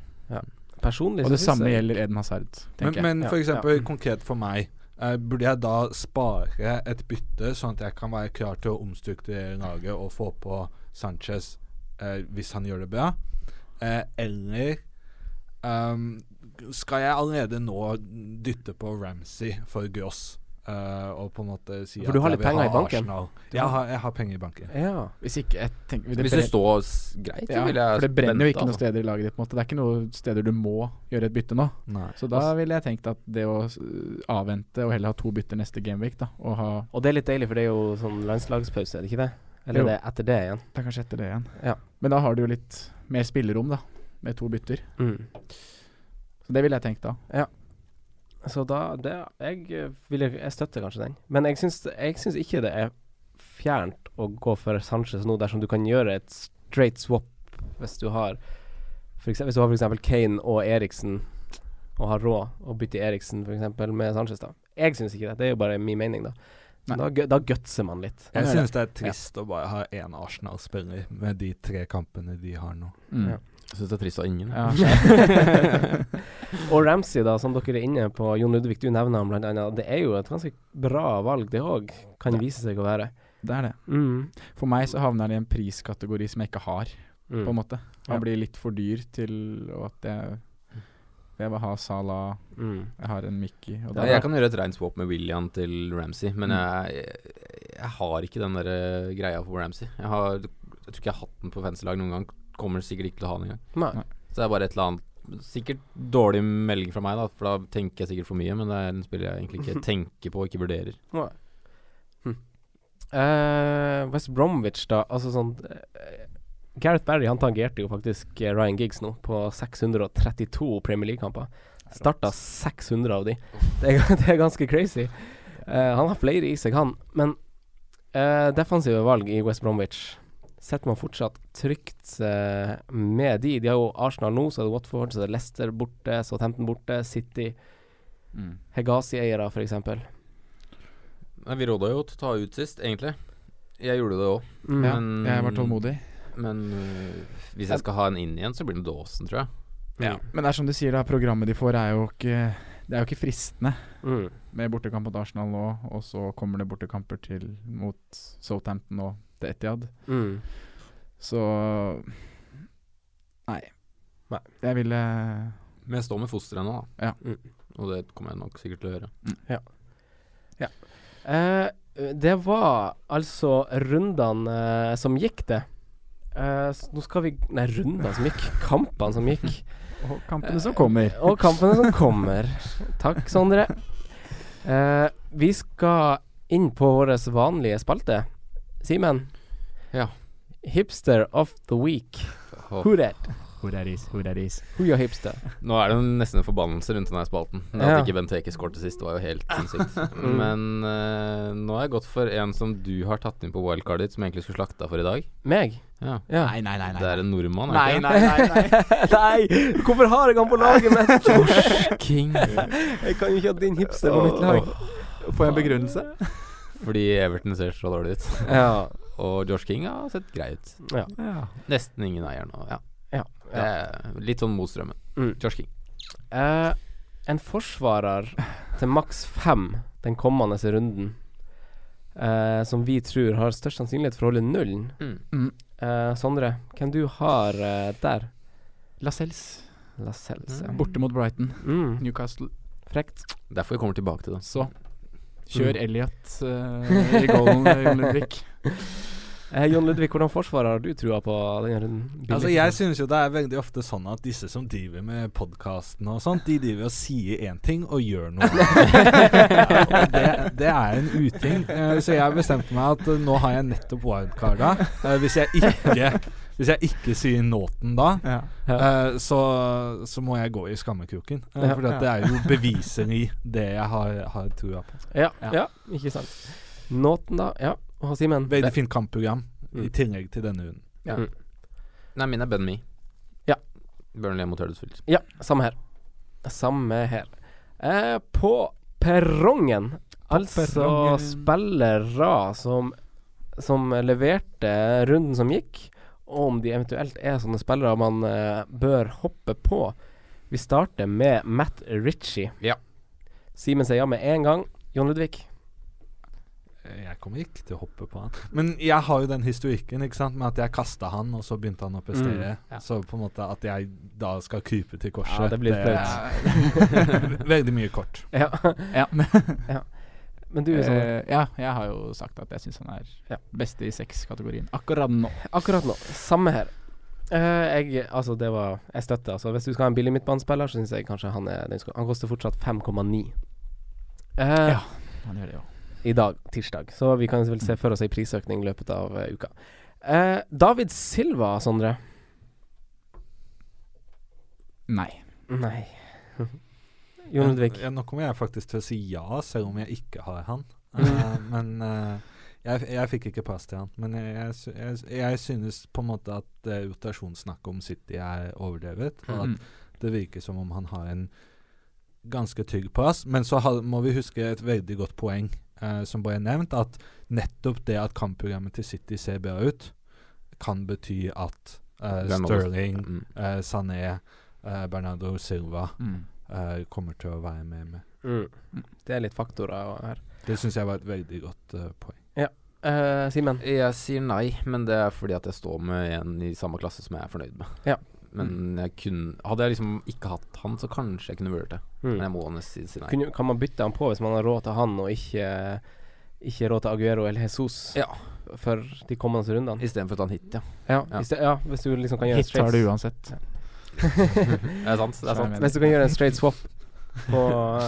C: Personlig
D: Og det
C: så synes
D: samme
C: jeg-
D: gjelder Eden Hazard,
B: Men,
D: tenker jeg.
B: men
C: Ja, Mm.
B: for eksempel
C: ja.
B: konkret for meg, eh, burde jeg da spare et bytte, sånn at jeg kan være klar til å omstrukturere laget og få på Sanchez eh, hvis han gjør det bra? Eh, eller ehm, skal jeg allerede nå dytte på Ramsey for Gross? eh, og på en måte si
C: For du har
B: jeg
C: litt
B: vil
C: penger
B: ha
C: i banken?
B: Arsenal. Jeg har, jeg har penger i banken.
C: Ja.
D: Hvis ikke jeg tenker,
E: Hvis det står s- greit, så
D: ja,
E: vil jeg
D: For det brenner jo
E: vente,
D: ikke noen
E: altså.
D: steder i laget ditt, på en måte. Det er ikke noen steder du må gjøre et bytte nå.
B: Nei.
D: Så da ville jeg tenkt at det å øh, avvente og heller ha to bytter neste gameweek, da, og ha
C: Og det er litt deilig, for det er jo sånn landslagspause, er det ikke det? Eller
D: Jo.
C: det er etter det igjen.
D: Det er kanskje etter det igjen.
C: Ja.
D: Men da har du jo litt mer spillerom, da, med to bytter.
C: Mm.
D: Så det ville jeg tenkt da.
C: Så da det, jeg, eh, vil, jeg støtter kanskje den. Men jeg syns, jeg syns ikke det er fjernt å gå for Sanchez nå, dersom du kan gjøre et straight swap hvis du har for eksempel, Hvis du har for eksempel Kane og Eriksen, og har råd å bytte Eriksen for eksempel, med Sanchez, da. Jeg syns ikke det. Det er jo bare min mening, da. Men Da, gø- da gutser man litt.
B: Jeg
D: Ja,
B: syns det er trist å bare ha én Arsenal-spiller med de tre kampene de har nå.
D: Mm.
C: Ja.
E: Jeg syns det er trist av ingen.
D: Ja.
E: <laughs>
C: Og Ramsey, da, som dere er inne på, Jon Ludvig, du nevner ham blant annet. Det er jo et ganske bra valg, det òg, kan vise seg å være.
D: Det er det.
C: Mm.
D: For meg så havner han i en priskategori som jeg ikke har,
C: Mm.
D: på en måte. Han
C: Ja.
D: blir litt for dyr til og at jeg Jeg vil ha Salah,
C: Mm.
D: jeg har en Mickey og
E: Ja,
D: da-
E: jeg kan gjøre et reint swap med William til Ramsey, men
B: Mm.
E: jeg, jeg, jeg har ikke den der eh, greia for Ramsey. Jeg, har, jeg tror ikke jeg har hatt den på fanselag noen gang. Kommer sikkert ikke til å ha den engang.
C: Nei.
E: Så det er bare et eller annet Sikkert dårlig melding fra meg, da, for da tenker jeg sikkert for mye. Men det er en spiller jeg egentlig
B: <laughs>
E: ikke tenker på, ikke vurderer.
C: Nei. Hm. Eh, West Bromwich, da. Altså sånn eh, Gareth Barry han tangerte jo faktisk eh, Ryan Giggs nå på 632 Premier League-kamper. Starta 600 av de. <laughs> Det er, det er ganske crazy. Eh, han har flere i seg, han. Men eh, defensive valg i West Bromwich setter man fortsatt trygt eh, med de. De har jo Arsenal nå, så er det Watford, så er det Leicester borte, så Tempton borte, City.
D: Mm.
C: Hegazi-eiere, for eksempel.
E: Nei, vi råda jo til å ta ut sist, egentlig. Jeg gjorde det òg.
C: Mm.
D: ja,
E: men-
D: jeg var tålmodig.
E: Men øh, hvis jeg skal ha en inn igjen, så blir det Dawson, tror jeg.
C: Ja.
D: Men det er som du sier, da, programmet de får er jo ikke Det er jo ikke fristende
C: Mm.
D: med bortekamp mot Arsenal nå, og så kommer det bortekamper til mot Southampton og til Etiad.
C: Mm.
D: Så Nei.
C: Nei.
D: Jeg eh, ville
E: Men jeg står med fosteret nå, da.
D: Ja.
E: Mm. Og det kommer jeg nok sikkert til å gjøre.
C: Eh, det var altså rundene eh, som gikk, det. Eh, s- nå skal vi Nei, rundene som gikk. Kampene som gikk.
D: Og kampene som kommer.
C: Og kampene som kommer. Takk, Sondre. Eh, vi skal inn på vår vanlige spalte. Simen,
E: Ja.
C: hipster of the week.
E: Åh.
C: Who that?
F: Hvor er is, hvor er is?
C: Who your hipster?
E: Nå er det jo nesten en forbannelse rundt denne spalten. At
C: Ja.
E: ikke Bent Eke skåret sist, var jo <laughs> helt sinnssykt.
D: Mm.
E: Men eh, nå har jeg gått for en som du har tatt inn på wildcardet ditt, som jeg egentlig skulle slakta for i dag.
C: Meg?
E: Ja.
D: Nei, nei, nei.
E: Det
D: nei.
E: er en nordmann, er
D: Nei,
E: det ikke?
D: nei, nei, nei.
C: <laughs> Nei, hvorfor har jeg han på laget mitt?
D: <laughs>
E: det? King.
C: Jeg kan jo ikke ha din hipster på mitt lag.
D: Får jeg en begrunnelse?
E: Fordi Everton ser så dårlig ut.
C: Ja,
E: Og Josh King har sett grei ut.
C: Ja.
E: Nesten ingen eier nå. Ja.
C: ja.
E: Det er litt sånn mot strømmen.
C: Mm.
E: Josh King.
C: Eh, en forsvarer til maks fem den kommende runden, eh, som vi tror har størst sannsynlighet for å holde nullen.
E: Mm.
D: Mm.
C: Eh, Sondre, hvem du har eh, der?
D: Lascelles.
C: Lascelles, ja.
D: Borte mot Brighton.
C: Mm,
D: Newcastle.
C: frekt.
E: Derfor vi kommer tilbake til det.
D: Så kjør Elliot eh, i goalen, Jon
C: <laughs>
D: Ludvig.
C: Eh, Jon Ludvig, hvordan forsvarer har du trua på denne runden?
B: Altså, jeg synes jo det er veldig ofte sånn at disse som driver med podkasten og sånt, de driver og sier én ting og gjør
C: <laughs>
B: noe annet. ja, og det, det er en uting. Eh, Så jeg bestemte meg at eh, nå har jeg nettopp wildcarda. Eh, Hvis jeg ikke hvis jeg ikke sier Nåten da,
D: Ja.
B: eh, så, så må jeg gå i skammekroken. Eh,
C: Ja.
B: For det er jo beviseri, det jeg har, har trua på.
C: ja, ja.
B: Ja.
C: ikke sant. Nåten, da? Ja. Og Simen?
B: Veldig fint kampprogram
C: Mm.
B: i tillegg til denne runden.
E: Nei, min er Ben Me.
C: Ja.
E: Burnley mot Huddersfield.
C: Ja, samme her. Samme her. Eh, på perrongen, altså
D: perrongen.
C: spillere som, som leverte runden som gikk, og om de eventuelt er sånne spillere man eh, bør hoppe på. Vi starter med Matt Ritchie.
E: Ja.
C: Simen sier ja med en gang. Jon Ludvig.
B: Jeg kommer ikke til å hoppe på han. <laughs> Men jeg har jo den historikken ikke sant? med at jeg kasta han, og så begynte han å prestere. Så på en måte at jeg da skal krype til korset
C: Ja, det blir litt
B: flaut. <laughs> Veldig mye kort.
C: Ja.
D: Ja.
C: <laughs> Men du, sånn- Sondre.
D: Eh, ja, jeg har jo sagt at jeg syns han er
C: Ja.
D: beste i seks-kategorien akkurat nå.
C: Akkurat nå. Samme her. Eh, jeg Altså, det var Jeg støtter. Altså, hvis du skal ha en billig midtbanespiller, så syns jeg kanskje han er den skal, Han koster fortsatt 5,9. Eh,
D: Ja. Han gjør det jo.
C: i dag, tirsdag. Så vi kan vel se for oss ei prisøkning i løpet av eh, uka. Eh, David Silva, Sondre.
D: Nei.
C: Nei. <laughs> Jon Ludvig.
B: Ja, nå kommer jeg faktisk til å si ja, selv om jeg ikke har han.
C: Mm.
B: Eh, men eh, jeg, jeg fikk ikke plass til han. Men jeg, jeg, sy- jeg, jeg synes på en måte at eh, rotasjonssnakket om City er overdrevet. Og at
D: Mm.
B: Det virker som om han har en ganske trygg plass. Men så har, må vi huske et veldig godt poeng eh, som ble nevnt, at nettopp det at kampprogrammet til City ser bra ut, kan bety at eh,
E: Det er noe-
B: Sterling,
E: Mm.
B: eh, Sané, eh, Bernardo Silva
D: Mm.
B: eh, kommer til å være med. med.
C: Mm. Det er litt faktorer her.
B: Det syns jeg var et veldig godt eh, poeng.
C: Eh, Simen.
E: Jeg sier nei, men det er fordi at jeg står med en i samme klasse som jeg er fornøyd med.
C: Ja. Mm.
E: Men jeg kunne Hadde jeg liksom ikke hatt han, så kanskje jeg kunne vurdert det. Men jeg må nesten si nei.
C: Mm. Kunne, kan man bytte han på hvis man har råd til han, og ikke, ikke råd til Aguero eller Jesus
E: Ja.
C: for de kommende rundene?
E: Istedenfor å ta en hit, ja.
C: Ja,
E: Ja.
C: hvis det- ja, hvis du liksom kan gjøre en
D: Hit tar
C: straight
D: du uansett.
E: <laughs> Det er sant. Det er sant.
C: Hvis du kan gjøre en straight swap på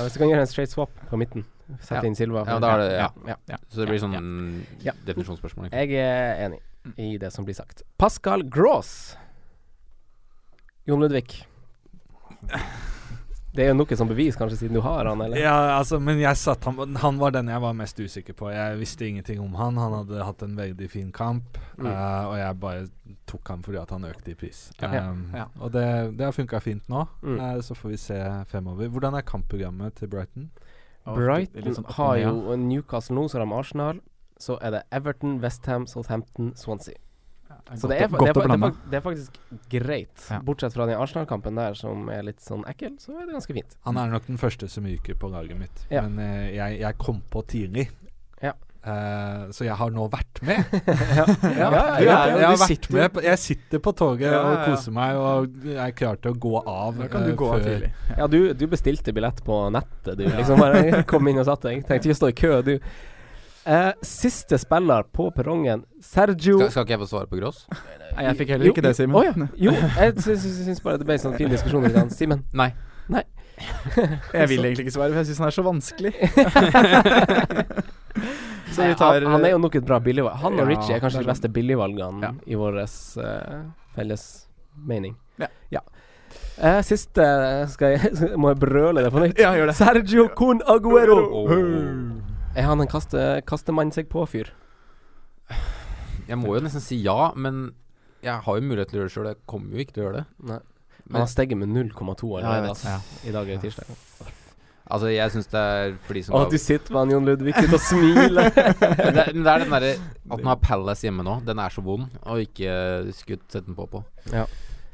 C: Hvis du kan gjøre en straight swap på midten, sette
E: Ja.
C: inn Silva
E: Ja, da er det- ja.
C: ja.
E: Så det blir sånn
C: Ja.
E: definisjonsspørsmål. egentlig.
C: Jeg er enig i det som blir sagt. Pascal Gross. Jon Ludvig. Det er jo noe som bevis, kanskje, siden du har han, eller?
B: Ja, altså, men jeg satt han, han var den jeg var mest usikker på. Jeg visste ingenting om han. Han hadde hatt en veldig fin kamp,
C: Mm.
B: eh, og jeg bare tok ham fordi at han økte i pris.
C: Ja.
B: Um,
D: Ja.
B: Og det, det har funka fint nå,
C: Mm.
B: eh, så får vi se fremover. Hvordan er kampprogrammet til Brighton?
C: Brighton
D: sånn
C: har jo Newcastle nå, så har de Arsenal. Så er det Everton, Westham, Southampton, Swansea. Så det er, fa- det, er, fa-
D: Godt å
C: det, er,
D: blande.
C: fa- det er faktisk greit.
D: Ja.
C: Bortsett fra den Arsenal-kampen der som er litt sånn ekkel, så er det ganske fint.
B: Han er nok den første som ryker på laget mitt,
C: Mm. Ja.
B: men eh, jeg, jeg kom på tidlig.
C: Ja.
B: Eh, så jeg har nå vært med.
C: <laughs> ja, ja, ja,
B: jeg,
C: ja,
B: jeg,
D: du
B: har vært
D: sitter-
B: med på, jeg sitter på toget
D: Ja, ja,
B: og
D: ja.
B: koser meg og er klar til å gå av.
D: Da kan du
B: eh,
D: gå av
B: før-
D: tidlig.
C: Ja, du, du bestilte billett på nettet, du. Liksom
E: <laughs>
C: bare kom inn og satt deg. Tenkte ikke å stå i kø, du. Eh, siste spiller på perrongen, Sergio
E: Skal, skal ikke jeg få svare på Gross?
D: Nei, jeg fikk heller ikke det, Simen.
C: Å ja. Jo, jeg syns, syns- syns bare det ble en sånn fin diskusjon i dag.
D: <laughs>
C: Simen.
E: Nei.
D: Jeg vil egentlig ikke svare, for jeg syns han er så vanskelig.
C: Så vi tar, han, han er jo nok et bra billigvalg. Han og
D: Ja,
C: Ritchie er kanskje de
D: det er
C: beste billigvalgene
D: Ja.
C: i vår eh, felles mening.
D: Ja.
C: Eh, siste skal jeg <laughs> Må jeg brøle det på nytt?
D: Ja, gjør det.
C: Sergio Con Aguero!
E: Åh.
C: Er han en kaste, kastemann seg på-fyr?
E: Jeg må jo nesten si ja, men jeg har jo mulighet til å gjøre det sjøl. Jeg kommer jo ikke til å gjøre det.
C: Han har steget med
E: Ja,
C: 0,2
E: jeg
C: allerede.
E: vet.
C: ass. I dag er det tirsdag.
E: Altså, jeg syns det er for de som
C: Å,
E: har
C: du sitter med han Jon Ludvig sitter og
E: <laughs>
C: smiler. <laughs>
E: Men det, men det er den derre At den har Palace hjemme nå, den er så vond, og ikke eh, skutt sette den på på.
C: Ja.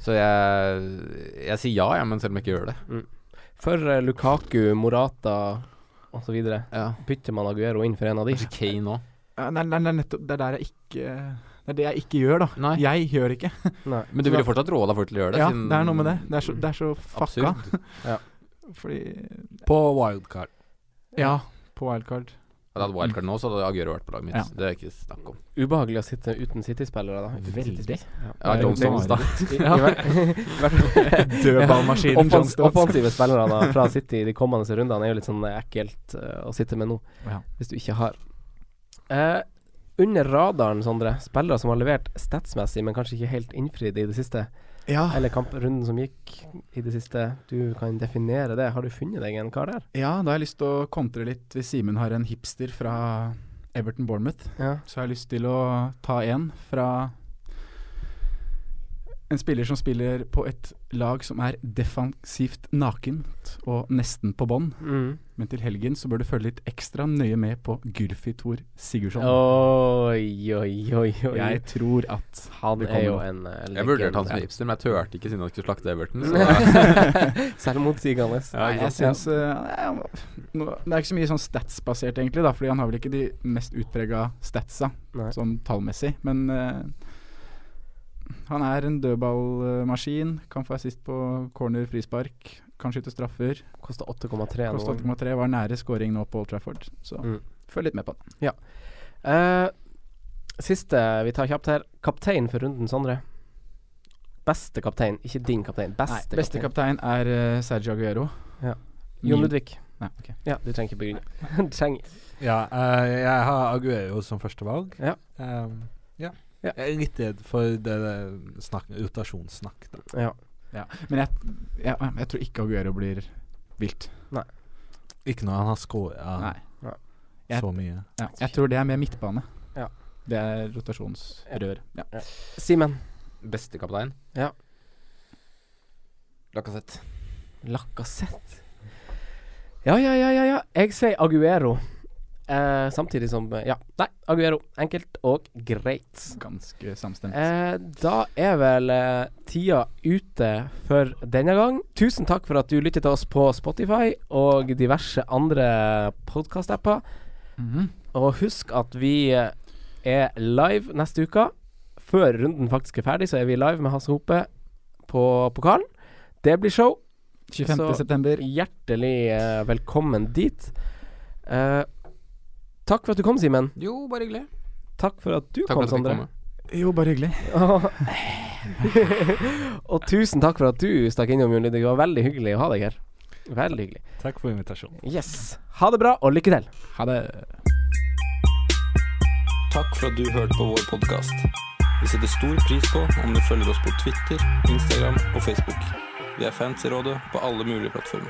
E: Så jeg, jeg sier ja, jeg, men selv om jeg ikke gjør det.
C: For eh, Lukaku, Morata osv.
E: Ja.
C: bytter man Aguero inn for en av de.
E: Kanskje Kane òg.
D: Ja, Nei, nei, nei, nettopp. Det er der jeg ikke Det er det jeg ikke gjør, da.
E: Nei.
D: Jeg gjør ikke. <laughs>
C: Nei.
E: Men du ville fortsatt råda folk til å gjøre det?
D: Ja,
E: siden-
D: det er noe med det. Det er så, det er så fucka.
E: Absurd.
D: Fordi
B: På wildcard.
D: Ja, på wildcard.
E: Hadde jeg hatt wildcard nå, så hadde Aguero vært på laget mitt.
D: Ja. <laughs>
E: Det er ikke snakk om.
C: Ubehagelig å sitte uten City-spillere, da. Uten
D: Veldig.
C: City-spillere.
E: Ja,
D: Det er
E: John
D: jo
E: Stones, da.
D: <laughs>
C: I- i <laughs> hver- hvert-
D: Dødballmaskinen John
C: Offens,
D: Stones.
C: offensive spillere da,
D: <laughs>
C: fra City i de kommende rundene er jo litt sånn eh, ekkelt eh, å sitte med nå,
D: Ja.
C: hvis du ikke har. Eh, under radaren, Sondre, spillere som har levert statsmessig, men kanskje ikke helt innfridd i det siste,
D: Ja,
C: eller kamprunden som gikk i det siste. Du kan definere det. Har du funnet deg en kar der?
D: ja, da har jeg lyst til å kontre litt. Hvis Simen har en hipster fra Everton Bournemouth,
C: Ja.
D: så har jeg lyst til å ta en fra en spiller som spiller på et lag som er defensivt nakent og nesten på bånn.
C: Mm.
D: Men til helgen så bør du følge litt ekstra nøye med på Gylfi Thor Sigurdsson.
C: Oi, oi, oi, oi.
D: Jeg tror at
C: han
D: det
C: er
D: kommer
C: jo
D: nå.
C: en eh, legende.
E: Jeg vurderte han
C: <laughs>
E: som hipster, men jeg turte ikke siden han skulle slakte Everton. Så
C: <laughs> Selvmotsigende.
D: Nei, jeg syns eh, nei, nå- Det er ikke så mye sånn statsbasert, egentlig, da, fordi han har vel ikke de mest utprega statsa
C: Nei.
D: sånn tallmessig, men eh, han er en dødballmaskin. Kan få assist på corner, frispark. Kan skyte straffer.
C: Koster 8,3
D: Kost
C: nå.
D: 8,3. Var nære scoring nå på Old Trafford, så
C: Mm.
D: følg litt med på han.
C: Eh, siste vi tar kjapt her. Kaptein for runden, Sondre. Beste kaptein, ikke din kaptein.
D: Nei,
C: Beste,
D: beste
C: kaptein.
D: kaptein er eh, Sergio Aguero.
C: Ja.
D: Min-
C: Jon Ludvig.
D: Nei, ok.
C: Ja, du trenger ikke begrunne. Du <laughs> trenger
B: <laughs> Ja, eh, jeg har Aguero som førstevalg.
C: Ja.
B: Ehm, ja.
C: Ja.
B: Jeg er litt redd for det der snakk, rotasjonssnakk. Da.
C: Ja.
D: Men jeg, jeg, jeg tror ikke Aguero blir vilt.
B: Ikke når han har scora
D: Nei. Jeg-
B: så mye.
D: Ja, jeg tror det er mer midtbane.
C: Ja.
D: Det er rotasjonsrør. Ja.
C: Simen.
E: Beste kaptein?
C: Ja.
E: Lacassette.
C: Lacassette. Ja, ja, ja, ja, ja. Jeg sier Aguero. Eh, samtidig som eh, Ja. Nei, Aguero. Enkelt og greit.
D: Ganske samstemt.
C: Eh, da er vel eh, tida ute for denne gang. Tusen takk for at du lyttet til oss på Spotify og diverse andre podkast-apper.
D: Mhm.
C: Og husk at vi eh, er live neste uke. Før runden faktisk er ferdig, så er vi live med Hasse Hope på pokalen. Det blir show.
D: 25.
C: så-
D: september.
C: Hjertelig eh, velkommen dit. Eh, takk for at du kom, Simen.
E: Jo, bare hyggelig.
C: Takk for at du
E: Takk for at
C: kom,
E: jeg fikk
C: Sondre.
E: komme.
D: Jo, bare hyggelig.
C: og tusen takk for at du stakk innom, Jon Ludvig. Det var veldig hyggelig å ha deg her. Veldig hyggelig.
B: Takk for invitasjonen.
C: Yes. Ha det bra, og lykke til.
D: Ha det.
F: Takk for at du hørte på vår podkast. Vi setter stor pris på om du følger oss på Twitter, Instagram og Facebook. Vi er fans i rådet på alle mulige plattformer.